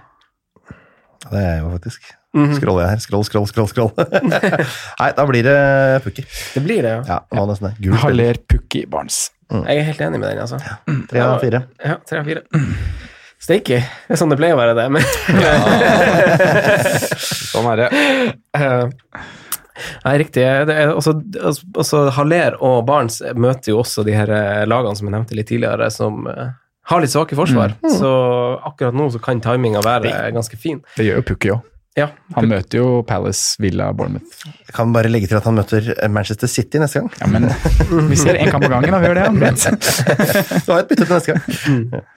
Speaker 4: Det er jeg jo faktisk.
Speaker 3: Mhm.
Speaker 4: Scroller jeg her. Scroll, scroll, scroll. scroll. *laughs* Nei, da blir det Pukki.
Speaker 3: Det blir det, ja.
Speaker 4: Ja, det var nesten det. Gul spiller.
Speaker 2: Haller Pukki Barnes.
Speaker 3: Jeg er helt enig med den, altså.
Speaker 4: Tre av fire.
Speaker 3: Ja, tre av fire. Steaky. Det er sånn det pleier å være, det. Men,
Speaker 1: Sånn er det.
Speaker 3: Eh, Nei, riktig. Eh, Det er også, også Haller og Barents møter jo også de her eh, lagene som jeg nevnte litt tidligere, som eh, har litt svake forsvar. Så akkurat nå så kan timinga være eh, ganske fin.
Speaker 2: Det gjør jo Pukki òg.
Speaker 3: Ja.
Speaker 2: Han møter jo Palace, Villa, Bournemouth.
Speaker 4: Jeg kan bare legge til at han møter Manchester City neste gang.
Speaker 2: Ja, men vi ser én kamp av gangen, da. Vi gjør det. *laughs* omtrent.
Speaker 4: Du har et bytte til neste gang.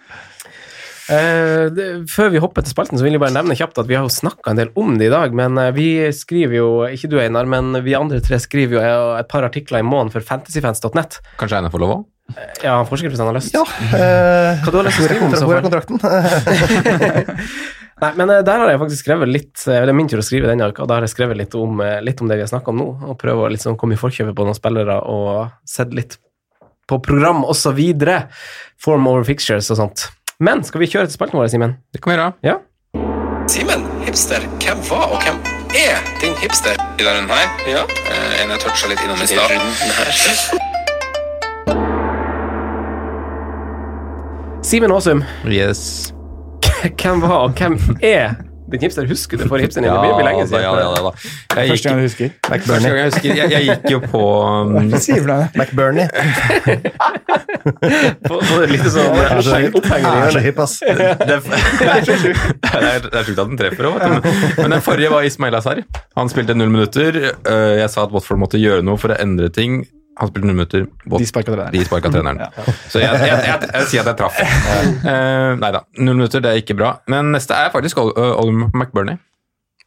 Speaker 3: Eh, det, før vi hopper til spalten, så vil jeg bare nevne kjapt at vi har jo snakka en del om det i dag. Men eh, vi skriver jo, ikke du Einar, men vi andre tre skriver jo eh, et par artikler i måneden for fantasyfans.net.
Speaker 1: Kanskje Einar får lov òg?
Speaker 3: Ja, han får sikkert hvis han har lyst.
Speaker 4: Ja. eh,
Speaker 3: Hva du har lyst til å
Speaker 4: hvor, er
Speaker 3: skrive om, i
Speaker 4: kontra-
Speaker 3: så
Speaker 4: hvor er
Speaker 3: fall?
Speaker 4: kontrakten? *laughs*
Speaker 3: Nei, men eh, der har jeg faktisk skrevet litt eh, Det er min tur å skrive denne uka, og da har jeg skrevet litt om, eh, litt om det vi har snakka om nå. Og prøve å liksom komme i forkjøpet på noen spillere og sett litt på program osv. Form over fixtures og sånt. Men skal vi kjøre til spalten vår, Simen?
Speaker 1: Det kan vi gjøre.
Speaker 3: Ja?
Speaker 5: Simen, hipster, hvem var og hvem er din hipster? I denne runden her? Ja. Eh, en jeg toucha litt innom i stad.
Speaker 3: Simen Aasum,
Speaker 1: Yes.
Speaker 3: hvem var og hvem er din hipster? Husker du for hipsteren din? Det blir- blir lenge
Speaker 1: da,
Speaker 3: siden.
Speaker 1: ja, ja, da, da. Jeg
Speaker 2: Første
Speaker 1: gikk,
Speaker 2: gang jeg husker.
Speaker 1: første gang jeg husker Jeg, jeg gikk jo på
Speaker 2: *laughs*
Speaker 1: um,
Speaker 2: Sier du det?
Speaker 4: McBurney.
Speaker 3: Få- få det litt sånn
Speaker 4: Er så
Speaker 3: oppheng-
Speaker 4: hypp.
Speaker 3: opphengende i
Speaker 4: Er så
Speaker 3: hjørnet.
Speaker 4: hypp, ass.
Speaker 1: *laughs* Det er det er sjukt at den treffer òg, vet du. Men den forrige var Ismail Azar. Han spilte null minutter. Eh, Jeg sa at Watford måtte gjøre noe for å endre ting. Han spilte null minutter. Wat-
Speaker 2: De sparka det der.
Speaker 1: de sparka treneren. Så jeg, jeg, jeg, jeg sier at jeg traff. Uh, nei da. Null minutter, det er ikke bra. Men neste er faktisk Ol- eh, Oliver McBurney.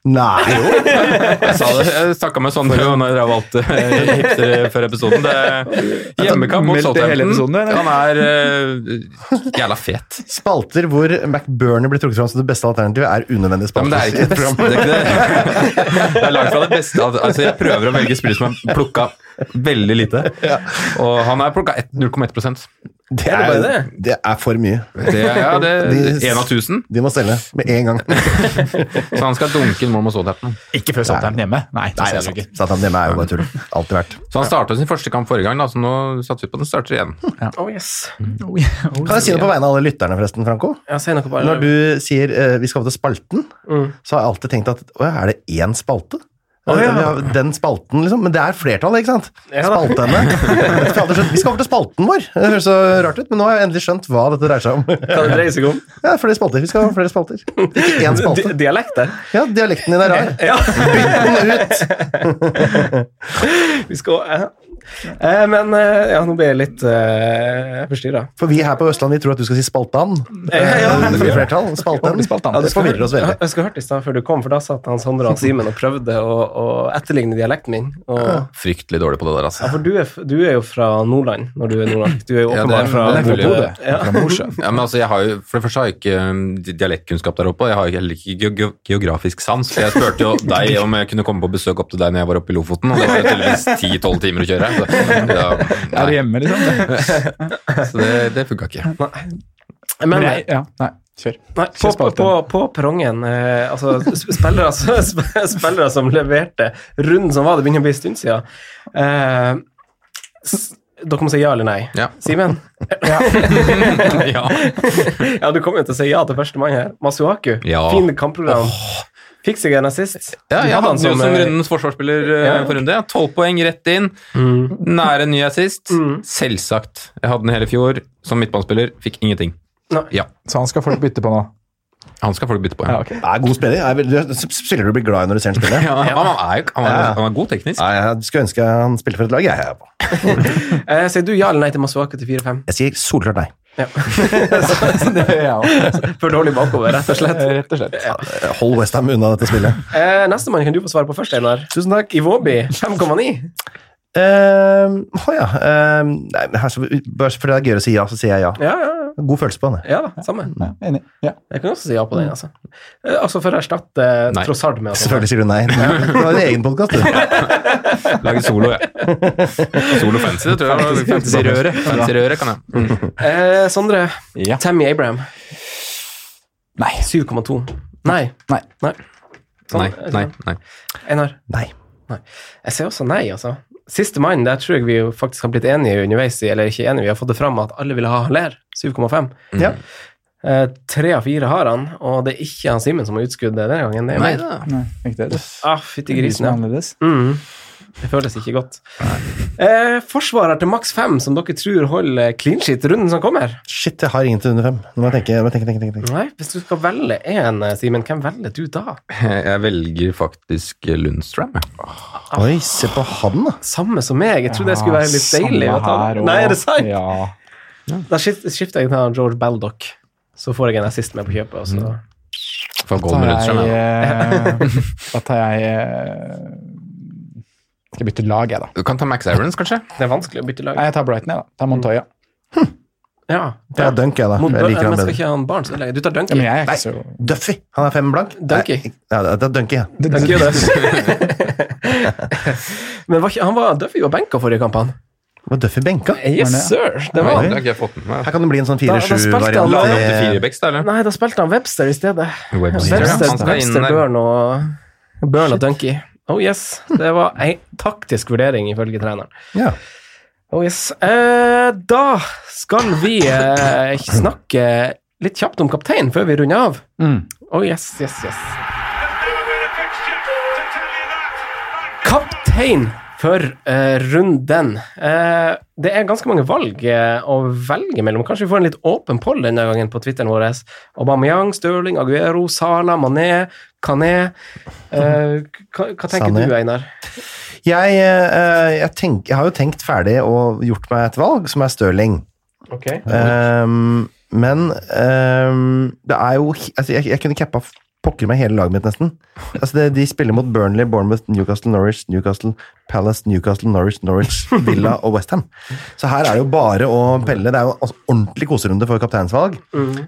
Speaker 4: Nei, jo.
Speaker 1: Jeg sa det, jeg snakka med Sondre jo når dere valgte eh, hipstere før episoden. Det er hjemmekamp mot
Speaker 2: Meldte
Speaker 1: Southampton.
Speaker 2: hele episoden, eller?
Speaker 1: Han er eh, jævla fet.
Speaker 4: Spalter hvor McBurney blir trukket fram som det beste alternativet, er unødvendige
Speaker 1: Ja, men
Speaker 4: spalter.
Speaker 1: det er ikke det beste. Det er, ikke det. det er langt fra det beste. Al- Altså, jeg prøver å velge spillere som er plukka veldig lite. Og han er plukka 0,1
Speaker 4: Det er,
Speaker 3: Er det bare
Speaker 4: det er for mye.
Speaker 1: Det er, ja, det er en av 1000,
Speaker 4: De må selge med en gang.
Speaker 1: så han skal dunke en mål mot Southampton.
Speaker 2: Ikke før Southampton hjemme. Nei, det
Speaker 4: Nei, det
Speaker 2: ser
Speaker 4: er
Speaker 2: du
Speaker 4: sant.
Speaker 2: ikke.
Speaker 4: Satan, det er jo bare tull. Alltid vært.
Speaker 1: Så han starta sin første kamp forrige gang, da, så nå satser vi på at han starter igjen.
Speaker 3: Oh, yes.
Speaker 2: Oh,
Speaker 4: Kan jeg si noe på vegne av alle lytterne, forresten, Franco?
Speaker 3: Ja, si noe bare.
Speaker 4: Når du sier eh, vi skal over til spalten, så har jeg alltid tenkt at åja, er det én spalte?
Speaker 3: Å, ja.
Speaker 4: Vi har Den spalten, liksom. Men det er flertallet, ikke sant?
Speaker 3: Ja, da.
Speaker 4: Spaltene. Jeg har aldri skjønt- Vi skal over til spalten vår. Det høres så rart ut, men nå har jeg endelig skjønt hva dette dreier seg om. *laughs*
Speaker 3: Hva det dreier seg om?
Speaker 4: Ja, flere spalter. Vi skal ha flere spalter. Ikke
Speaker 3: *laughs*
Speaker 4: én spalte.
Speaker 3: Di- Dialekter?
Speaker 4: Ja, dialekten din
Speaker 3: *laughs*
Speaker 4: er rar.
Speaker 3: Ja.
Speaker 4: Bytt den ut!
Speaker 3: Vi skal eh. Eh, Men eh, ja, nå blir jeg litt uh, forstyrra.
Speaker 4: For vi her på Østlandet vi tror at du skal si spaltan.
Speaker 3: Ja, ja.
Speaker 4: Eh, for Flertall. Spalten.
Speaker 2: Spaltan.
Speaker 4: Det forvirrer oss veldig.
Speaker 3: Jeg skulle hørt i stad før du kom, for da satt han Sondre og Simen og prøvde å, å etterligne dialekten min. Og, ja,
Speaker 1: Fryktelig dårlig på det der, altså.
Speaker 3: for du er, f- du er jo fra Nordland, når du er nordland. Du er
Speaker 1: Ja,
Speaker 3: jo
Speaker 1: det er-
Speaker 3: åpenbart fra
Speaker 1: det er mulig.
Speaker 3: Bodø. Ja.
Speaker 2: Fra Mosjøen.
Speaker 1: Ja, men altså, jeg har jo, for det første har jeg ikke um, di- dialektkunnskap der oppe, og jeg har jo heller ikke ge- ge- geografisk sans. For jeg spurte jo deg om jeg kunne komme på besøk opp til deg når jeg var oppe i Lofoten, og det var jo tydeligvis 10-12 timer å kjøre. Så, ja,
Speaker 2: *laughs* Er du
Speaker 1: nei,
Speaker 2: hjemme, *laughs* liksom?
Speaker 1: så det, det funka ikke.
Speaker 3: Men, eh,
Speaker 2: Men jeg, ja, nei, kjør.
Speaker 3: Nei, på,
Speaker 2: Ikke
Speaker 3: på,
Speaker 2: spalte.
Speaker 3: på, på perrongen eh, altså, sp- spillere, som- *laughs* sp- spillere som leverte runden som var, det begynner å bli en stund siden. Eh, s- dere må si ja eller nei.
Speaker 1: Ja.
Speaker 3: Simen?
Speaker 1: *laughs* Ja.
Speaker 3: *laughs* Ja, du kommer jo til å si ja til førstemann her. Masuaku.
Speaker 1: Ja.
Speaker 3: Fin kampprogram. Fikk seg en assist.
Speaker 1: Ja,
Speaker 3: Du
Speaker 1: jeg
Speaker 3: hadde
Speaker 1: hadde han jo som
Speaker 3: eh,
Speaker 1: rundens forsvarsspiller eh,
Speaker 3: Ja.
Speaker 1: for runde. Tolv poeng rett inn. Nære ny assist. Selvsagt. Jeg hadde den hele fjor som midtbanespiller. Fikk ingenting.
Speaker 3: Nei.
Speaker 1: Ja,
Speaker 2: Så han skal folk bytte på nå?
Speaker 1: han skal folk bytte på.
Speaker 2: Ja,
Speaker 1: Ja.
Speaker 2: ok. *laughs*
Speaker 4: Det er god spiller. Jeg er veldig- du- Spiller du blir glad i når du ser han spille?
Speaker 1: Ja, han, han, er, jo- han, er,
Speaker 4: Ja.
Speaker 1: han er god teknisk.
Speaker 4: Nei, Jeg skulle ønske han spilte for et lag. Jeg, jeg,
Speaker 3: eh, Sier du ja eller nei til Masuaku til 4-5?
Speaker 4: jeg sier solklart nei.
Speaker 2: Det gjør jeg også.
Speaker 3: *laughs* For dårlig bakover, rett og slett.
Speaker 2: Rett og slett.
Speaker 4: Hold Westham unna dette spillet.
Speaker 3: Eh, Nestemann kan du få svare på først, Einar.
Speaker 4: Tusen takk.
Speaker 3: Iwobi 5,9.
Speaker 4: Ehm, Å ja. ehm, nei, men her, så, bare fordi det er gøy å si ja, så sier jeg ja.
Speaker 3: Ja, ja,
Speaker 4: God følelse på han. jeg.
Speaker 3: ja da, samme.
Speaker 2: Ja, enig. Ja.
Speaker 3: Jeg kan også si ja på den, altså. Eh, Altså for å erstatte eh,
Speaker 1: Nei.
Speaker 3: Trossard med altså.
Speaker 4: Selvfølgelig sier du nei. Du har en egen podkast, du.
Speaker 1: Lage solo, ja. Solo fancy, det tror jeg. Fancy røre. Fancy røre kan jeg. Mm.
Speaker 3: Eh, Sondre,
Speaker 2: Ja.
Speaker 3: Tammy Abraham,
Speaker 2: Nei.
Speaker 3: 7,2. Nei.
Speaker 2: Nei.
Speaker 3: Sånn.
Speaker 1: Nei, nei, nei.
Speaker 3: Einar?
Speaker 4: Nei.
Speaker 3: Nei. Jeg sier også nei, altså. Siste mann, der tror jeg vi jo faktisk har blitt enige underveis, i, eller ikke enige, vi har fått det fram at alle ville ha Haller, 7,5.
Speaker 4: Ja.
Speaker 3: Eh, Tre av fire har han, og det er ikke han Simen som har utskuddet denne gangen. Det er
Speaker 1: nei
Speaker 3: meg.
Speaker 1: da.
Speaker 2: Nei. Ikke det.
Speaker 3: Ah, fytti
Speaker 2: Det er
Speaker 3: grisen,
Speaker 2: liksom- de som er
Speaker 3: ja.
Speaker 2: annerledes.
Speaker 3: Mm. Det føles ikke godt. Eh, forsvarer til maks fem, som dere tror holder clean shit runden som kommer.
Speaker 4: Shit, jeg har ingen til under fem. Nå må jeg tenke, jeg må tenke, tenke, tenke, tenke.
Speaker 3: Nei, hvis du skal velge én, Simen, hvem velger du da?
Speaker 1: Jeg velger faktisk Lundstrøm. jeg.
Speaker 3: Ah.
Speaker 4: Oi, se på han, da.
Speaker 3: Samme som meg. Jeg trodde jeg skulle
Speaker 2: Ja,
Speaker 3: være litt
Speaker 2: Ah, samme
Speaker 3: deilig. å ta-
Speaker 2: her også.
Speaker 3: Nei, er det sant?
Speaker 2: Ja.
Speaker 3: Da skift- skifter jeg til George Baldock. Så får jeg en assist med på kjøpet. Og så.
Speaker 1: Får gå med
Speaker 2: Da tar
Speaker 1: Lundstrøm.
Speaker 2: jeg,
Speaker 1: ja.
Speaker 2: eh, *laughs* da tar jeg eh, Skal jeg bytte lag, jeg, da.
Speaker 1: Du kan ta Max Aarons, kanskje?
Speaker 3: Det er vanskelig å bytte lag.
Speaker 2: Nei, jeg tar Brighton, jeg, da. Tar Montoya.
Speaker 3: Ja,
Speaker 4: Jeg har Dunk, jeg, da.
Speaker 3: Mot
Speaker 4: Jeg liker
Speaker 3: Burnley,
Speaker 4: han
Speaker 3: men skal
Speaker 4: bedre.
Speaker 3: ikke han barn så lenge? Du tar Dunky.
Speaker 2: Ja, men jeg er ikke
Speaker 4: Nei.
Speaker 2: så
Speaker 4: Duffy. Han er fem blank.
Speaker 3: Dunky.
Speaker 4: Nei, Ja, det er Dunky, ja.
Speaker 2: det,
Speaker 3: Dunky er det. *laughs* men var ikke, han var Duffy var benka forrige kamp, han. Eh,
Speaker 4: Var Duffy benka?
Speaker 3: Yes, sir! Det var
Speaker 1: Nei,
Speaker 3: han.
Speaker 1: det har ikke jeg fått med meg.
Speaker 4: Her kan det bli en sånn Eh,
Speaker 3: Da- da spilte han
Speaker 4: 4-7-variant.
Speaker 1: La han
Speaker 3: det-
Speaker 1: opp til firebacks, da, eller?
Speaker 3: Nei, da spilte han Webster i stedet.
Speaker 1: Webster, ja.
Speaker 3: Webster,
Speaker 1: Han skal inn
Speaker 3: Webster
Speaker 1: der.
Speaker 3: Burn og Burn og Dunky. Oh yes. Det var ei taktisk vurdering, ifølge treneren.
Speaker 4: Ja.
Speaker 3: Oh yes. Eh, da skal vi eh, snakke litt kjapt om kapteinen før vi runder av.
Speaker 2: Mm.
Speaker 3: Oh yes, yes, yes.
Speaker 6: Never been a fixture to tell you that.
Speaker 3: Kaptein for eh, runden. Eh, det er ganske mange valg eh, å velge mellom. Kanskje vi får en litt åpen poll denne gangen på Twitteren vår. Aubameyang, Stirling, Aguero, Sala, Mané, Kané. Eh, hva, hva tenker
Speaker 4: Sané.
Speaker 3: du, Einar?
Speaker 4: Jeg, eh, jeg, tenk, jeg har jo tenkt ferdig og gjort meg et valg, som er Stirling.
Speaker 3: Eh,
Speaker 4: Ehm, men ehm, det er jo altså, jeg, jeg kunne cappa f- pokker meg hele laget mitt, nesten. Altså, det, de spiller mot Burnley, Bournemouth, Newcastle, Norwich, Newcastle, Palace, Newcastle, Norwich, Norwich, Villa og Westham. Så her er det jo bare å pelle. Det er jo altså, ordentlig koserunde for kapteinsvalg.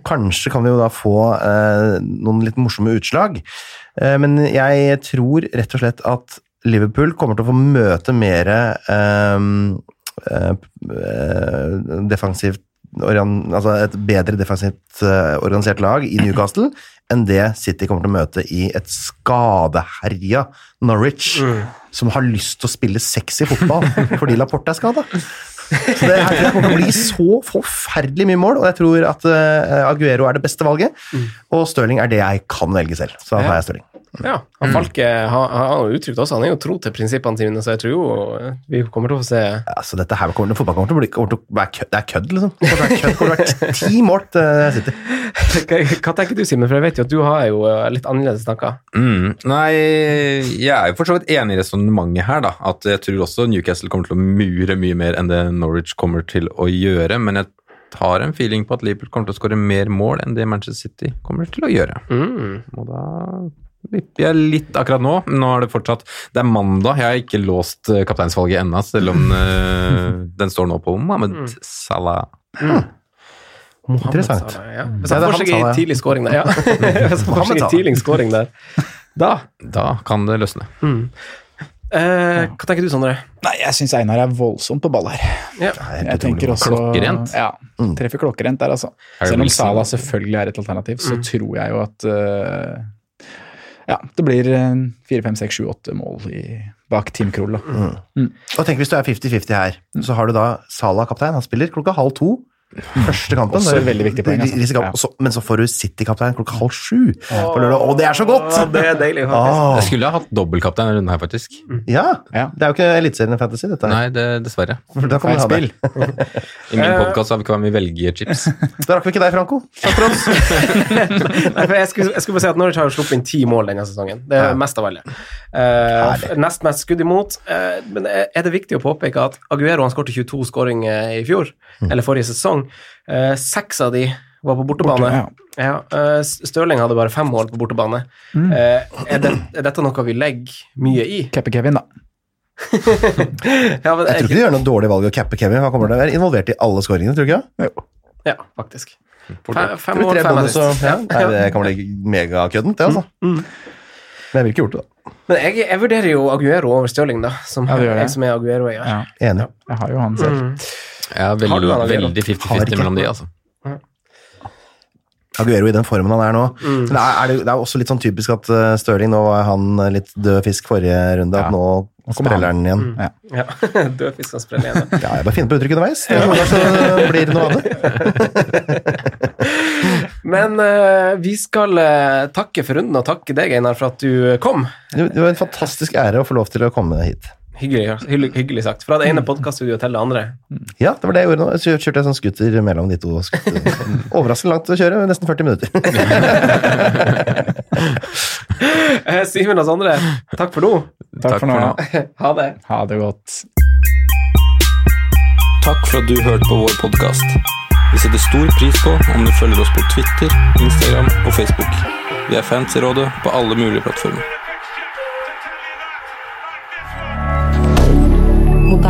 Speaker 4: Kanskje kan vi jo da få eh, noen litt morsomme utslag. Eh, men jeg tror rett og slett at Liverpool kommer til å få møte mer ehm, eh, eh, defensivt oran- altså et bedre defensivt eh, organisert lag i
Speaker 3: *laughs*
Speaker 4: Newcastle enn det City kommer til å møte i et skadeherja Norwich,
Speaker 3: Mm.
Speaker 4: som har lyst til å spille sexy fotball fordi Laporte er skada. Så det her tror jeg kommer til å bli så forferdelig mye mål, og jeg tror at eh, Aguero er det beste valget. Og Stirling er det jeg kan velge selv, så da tar jeg Stirling.
Speaker 3: Mm. Ja, han Falke har, har jo uttrykt også, han er jo tro til prinsippene sine, så jeg tror jo eh, vi kommer til å få se
Speaker 4: Altså, dette her kommer, fotball kommer til å bli kommer til å være kødd, det er kødd, liksom. Det kommer til å være kødd, kommer til å være ti mål til eh, City.
Speaker 3: Hva, hva tenker du, Simen? For jeg vet jo at du har jo eh, litt annerledes tanker.
Speaker 1: Mm. Nei, jeg er jo for så vidt enig i resonnementet her, da. At jeg tror også Newcastle kommer til å mure mye mer enn det Norwich kommer til å gjøre. Men jeg har en feeling på at Liverpool kommer til å skåre mer mål enn det Manchester City kommer til å gjøre.
Speaker 3: Mm.
Speaker 1: Og da vipper jeg litt akkurat nå. men Nå er det fortsatt Det er mandag. Jeg har ikke låst eh, kapteinsvalget ennå, selv om eh, den står nå på Mohammed Salah.
Speaker 4: Interessant.
Speaker 3: Mohammed Salah, Ja. Hvis
Speaker 4: Ja,
Speaker 3: han
Speaker 4: det er
Speaker 3: får seg
Speaker 4: han,
Speaker 3: en
Speaker 4: Salah.
Speaker 3: tidlig scoring der, ja. *laughs* Hvis han får
Speaker 4: Mohammed
Speaker 3: seg en
Speaker 4: Salah.
Speaker 3: tidlig scoring der. Da
Speaker 1: Da kan det løsne.
Speaker 4: Mm.
Speaker 3: eh, Hva tenker du, Sondre?
Speaker 2: Nei, jeg syns Einar er voldsomt på ball her.
Speaker 3: Ja.
Speaker 2: Jeg tenker også,
Speaker 1: Klokkerent.
Speaker 2: Ja, treffer klokkerent der, altså.
Speaker 1: Harry
Speaker 2: Selv om
Speaker 1: Wilson.
Speaker 2: Salah selvfølgelig er et alternativ, så tror jeg jo at eh, ja, det blir eh, fire, fem, seks, sju, åtte mål i, bak Team Krull. Da.
Speaker 4: Og tenk hvis du er 50-50 her, så har du da Salah kaptein, han spiller klokka halv to. Første kampen.
Speaker 2: Også
Speaker 4: Det er
Speaker 2: et veldig viktig poeng, altså.
Speaker 4: risikabelt.
Speaker 2: Ja.
Speaker 4: Og så- Men så får du City-kaptein klokka halv sju på lørdag, og det er så godt!
Speaker 3: Å, det er deilig, faktisk.
Speaker 4: Ah,
Speaker 1: Jeg skulle ha hatt dobbeltkaptein denne runden her, faktisk.
Speaker 4: ja.
Speaker 2: Ja.
Speaker 4: Det er jo ikke Eliteserien i Fantasy, dette. her.
Speaker 1: Nei, det, dessverre.
Speaker 4: For da kan vi
Speaker 2: Feil
Speaker 4: ha det.
Speaker 2: spill.
Speaker 1: I min podkast har vi ikke hva vi velger chips.
Speaker 4: *laughs* Da rakk vi ikke deg, Franco. Takk for oss.
Speaker 3: Nei, for jeg, skulle, jeg skulle bare si at Norwich har jo sluppet inn ti mål denne sesongen. Det er mest av alle. Eh, nest mest skudd imot. Eh, men er det viktig å påpeke at Aguero han skårte 22 skåringer eh, i fjor,
Speaker 4: Mm.
Speaker 3: eller forrige sesong. Eh, Seks av de var på bortebane. ja. eh, Stirling hadde bare fem mål på bortebane. Eh, er, det, er dette noe vi legger mye i?
Speaker 2: Cappe Kevin, da.
Speaker 3: Ja, men,
Speaker 4: Jeg tror ikke du gjør noe dårlig valg å cappe Kevin. Han kommer til å være involvert i alle scoringene, tror du ikke?
Speaker 3: ja, faktisk. Fem, fem
Speaker 4: Tror du
Speaker 3: mål,
Speaker 4: tre
Speaker 3: fem
Speaker 4: bonus og
Speaker 3: assist. Ja,
Speaker 4: ja. Nei, det kan bli megakøddent, det, altså.
Speaker 2: Mm.
Speaker 4: Men jeg ville ikke gjort det, da.
Speaker 3: Men jeg, jeg vurderer jo Aguero over Stirling, da. Som,
Speaker 2: Ja, du gjør det.
Speaker 3: jeg som er Aguero-eier.
Speaker 2: Ja.
Speaker 4: Enig.
Speaker 2: Jeg har jo han selv.
Speaker 1: Jeg er
Speaker 3: Har du
Speaker 1: veldig,
Speaker 3: den, Aguero?
Speaker 1: veldig
Speaker 4: Har ikke.
Speaker 1: 50-50 mellom de, altså.
Speaker 4: Aguero i den formen han er nå. Men det, er, er det, det er også litt sånn typisk at eh, Stirling nå var han eh, litt død fisk forrige runde,
Speaker 2: Ja.
Speaker 4: at nå
Speaker 2: kommer
Speaker 4: spreller han Mm. igjen.
Speaker 2: Ja.
Speaker 3: Ja. *laughs* Dødfisk skal spille igjen. da.
Speaker 4: Ja, jeg bare finner på uttrykk underveis. Det er noen ganger så blir det noe av det.
Speaker 3: Men eh, vi skal eh, takke for runden og takke deg, Einar, for at du kom.
Speaker 4: Det det var en fantastisk ære å få lov til å komme hit.
Speaker 3: Hyggelig, hyggelig, hyggelig sagt. Fra det ene podcaststudioet til det andre.
Speaker 4: Ja, det var det jeg gjorde nå. Så kjørte jeg sånn scooter mellom de to. *laughs* skuter. Overraskende langt å kjøre, nesten 40 minutter.
Speaker 3: Eh, Simen og Sondre, takk for nå.
Speaker 2: Mm. Takk, for nå.
Speaker 3: Ha det.
Speaker 2: Ha det godt.
Speaker 7: Takk for at du hørte på vår podkast. Vi setter stor pris på om du følger oss på Twitter, Instagram og Facebook. Vi er fans i rådet på alle mulige plattformer.
Speaker 6: The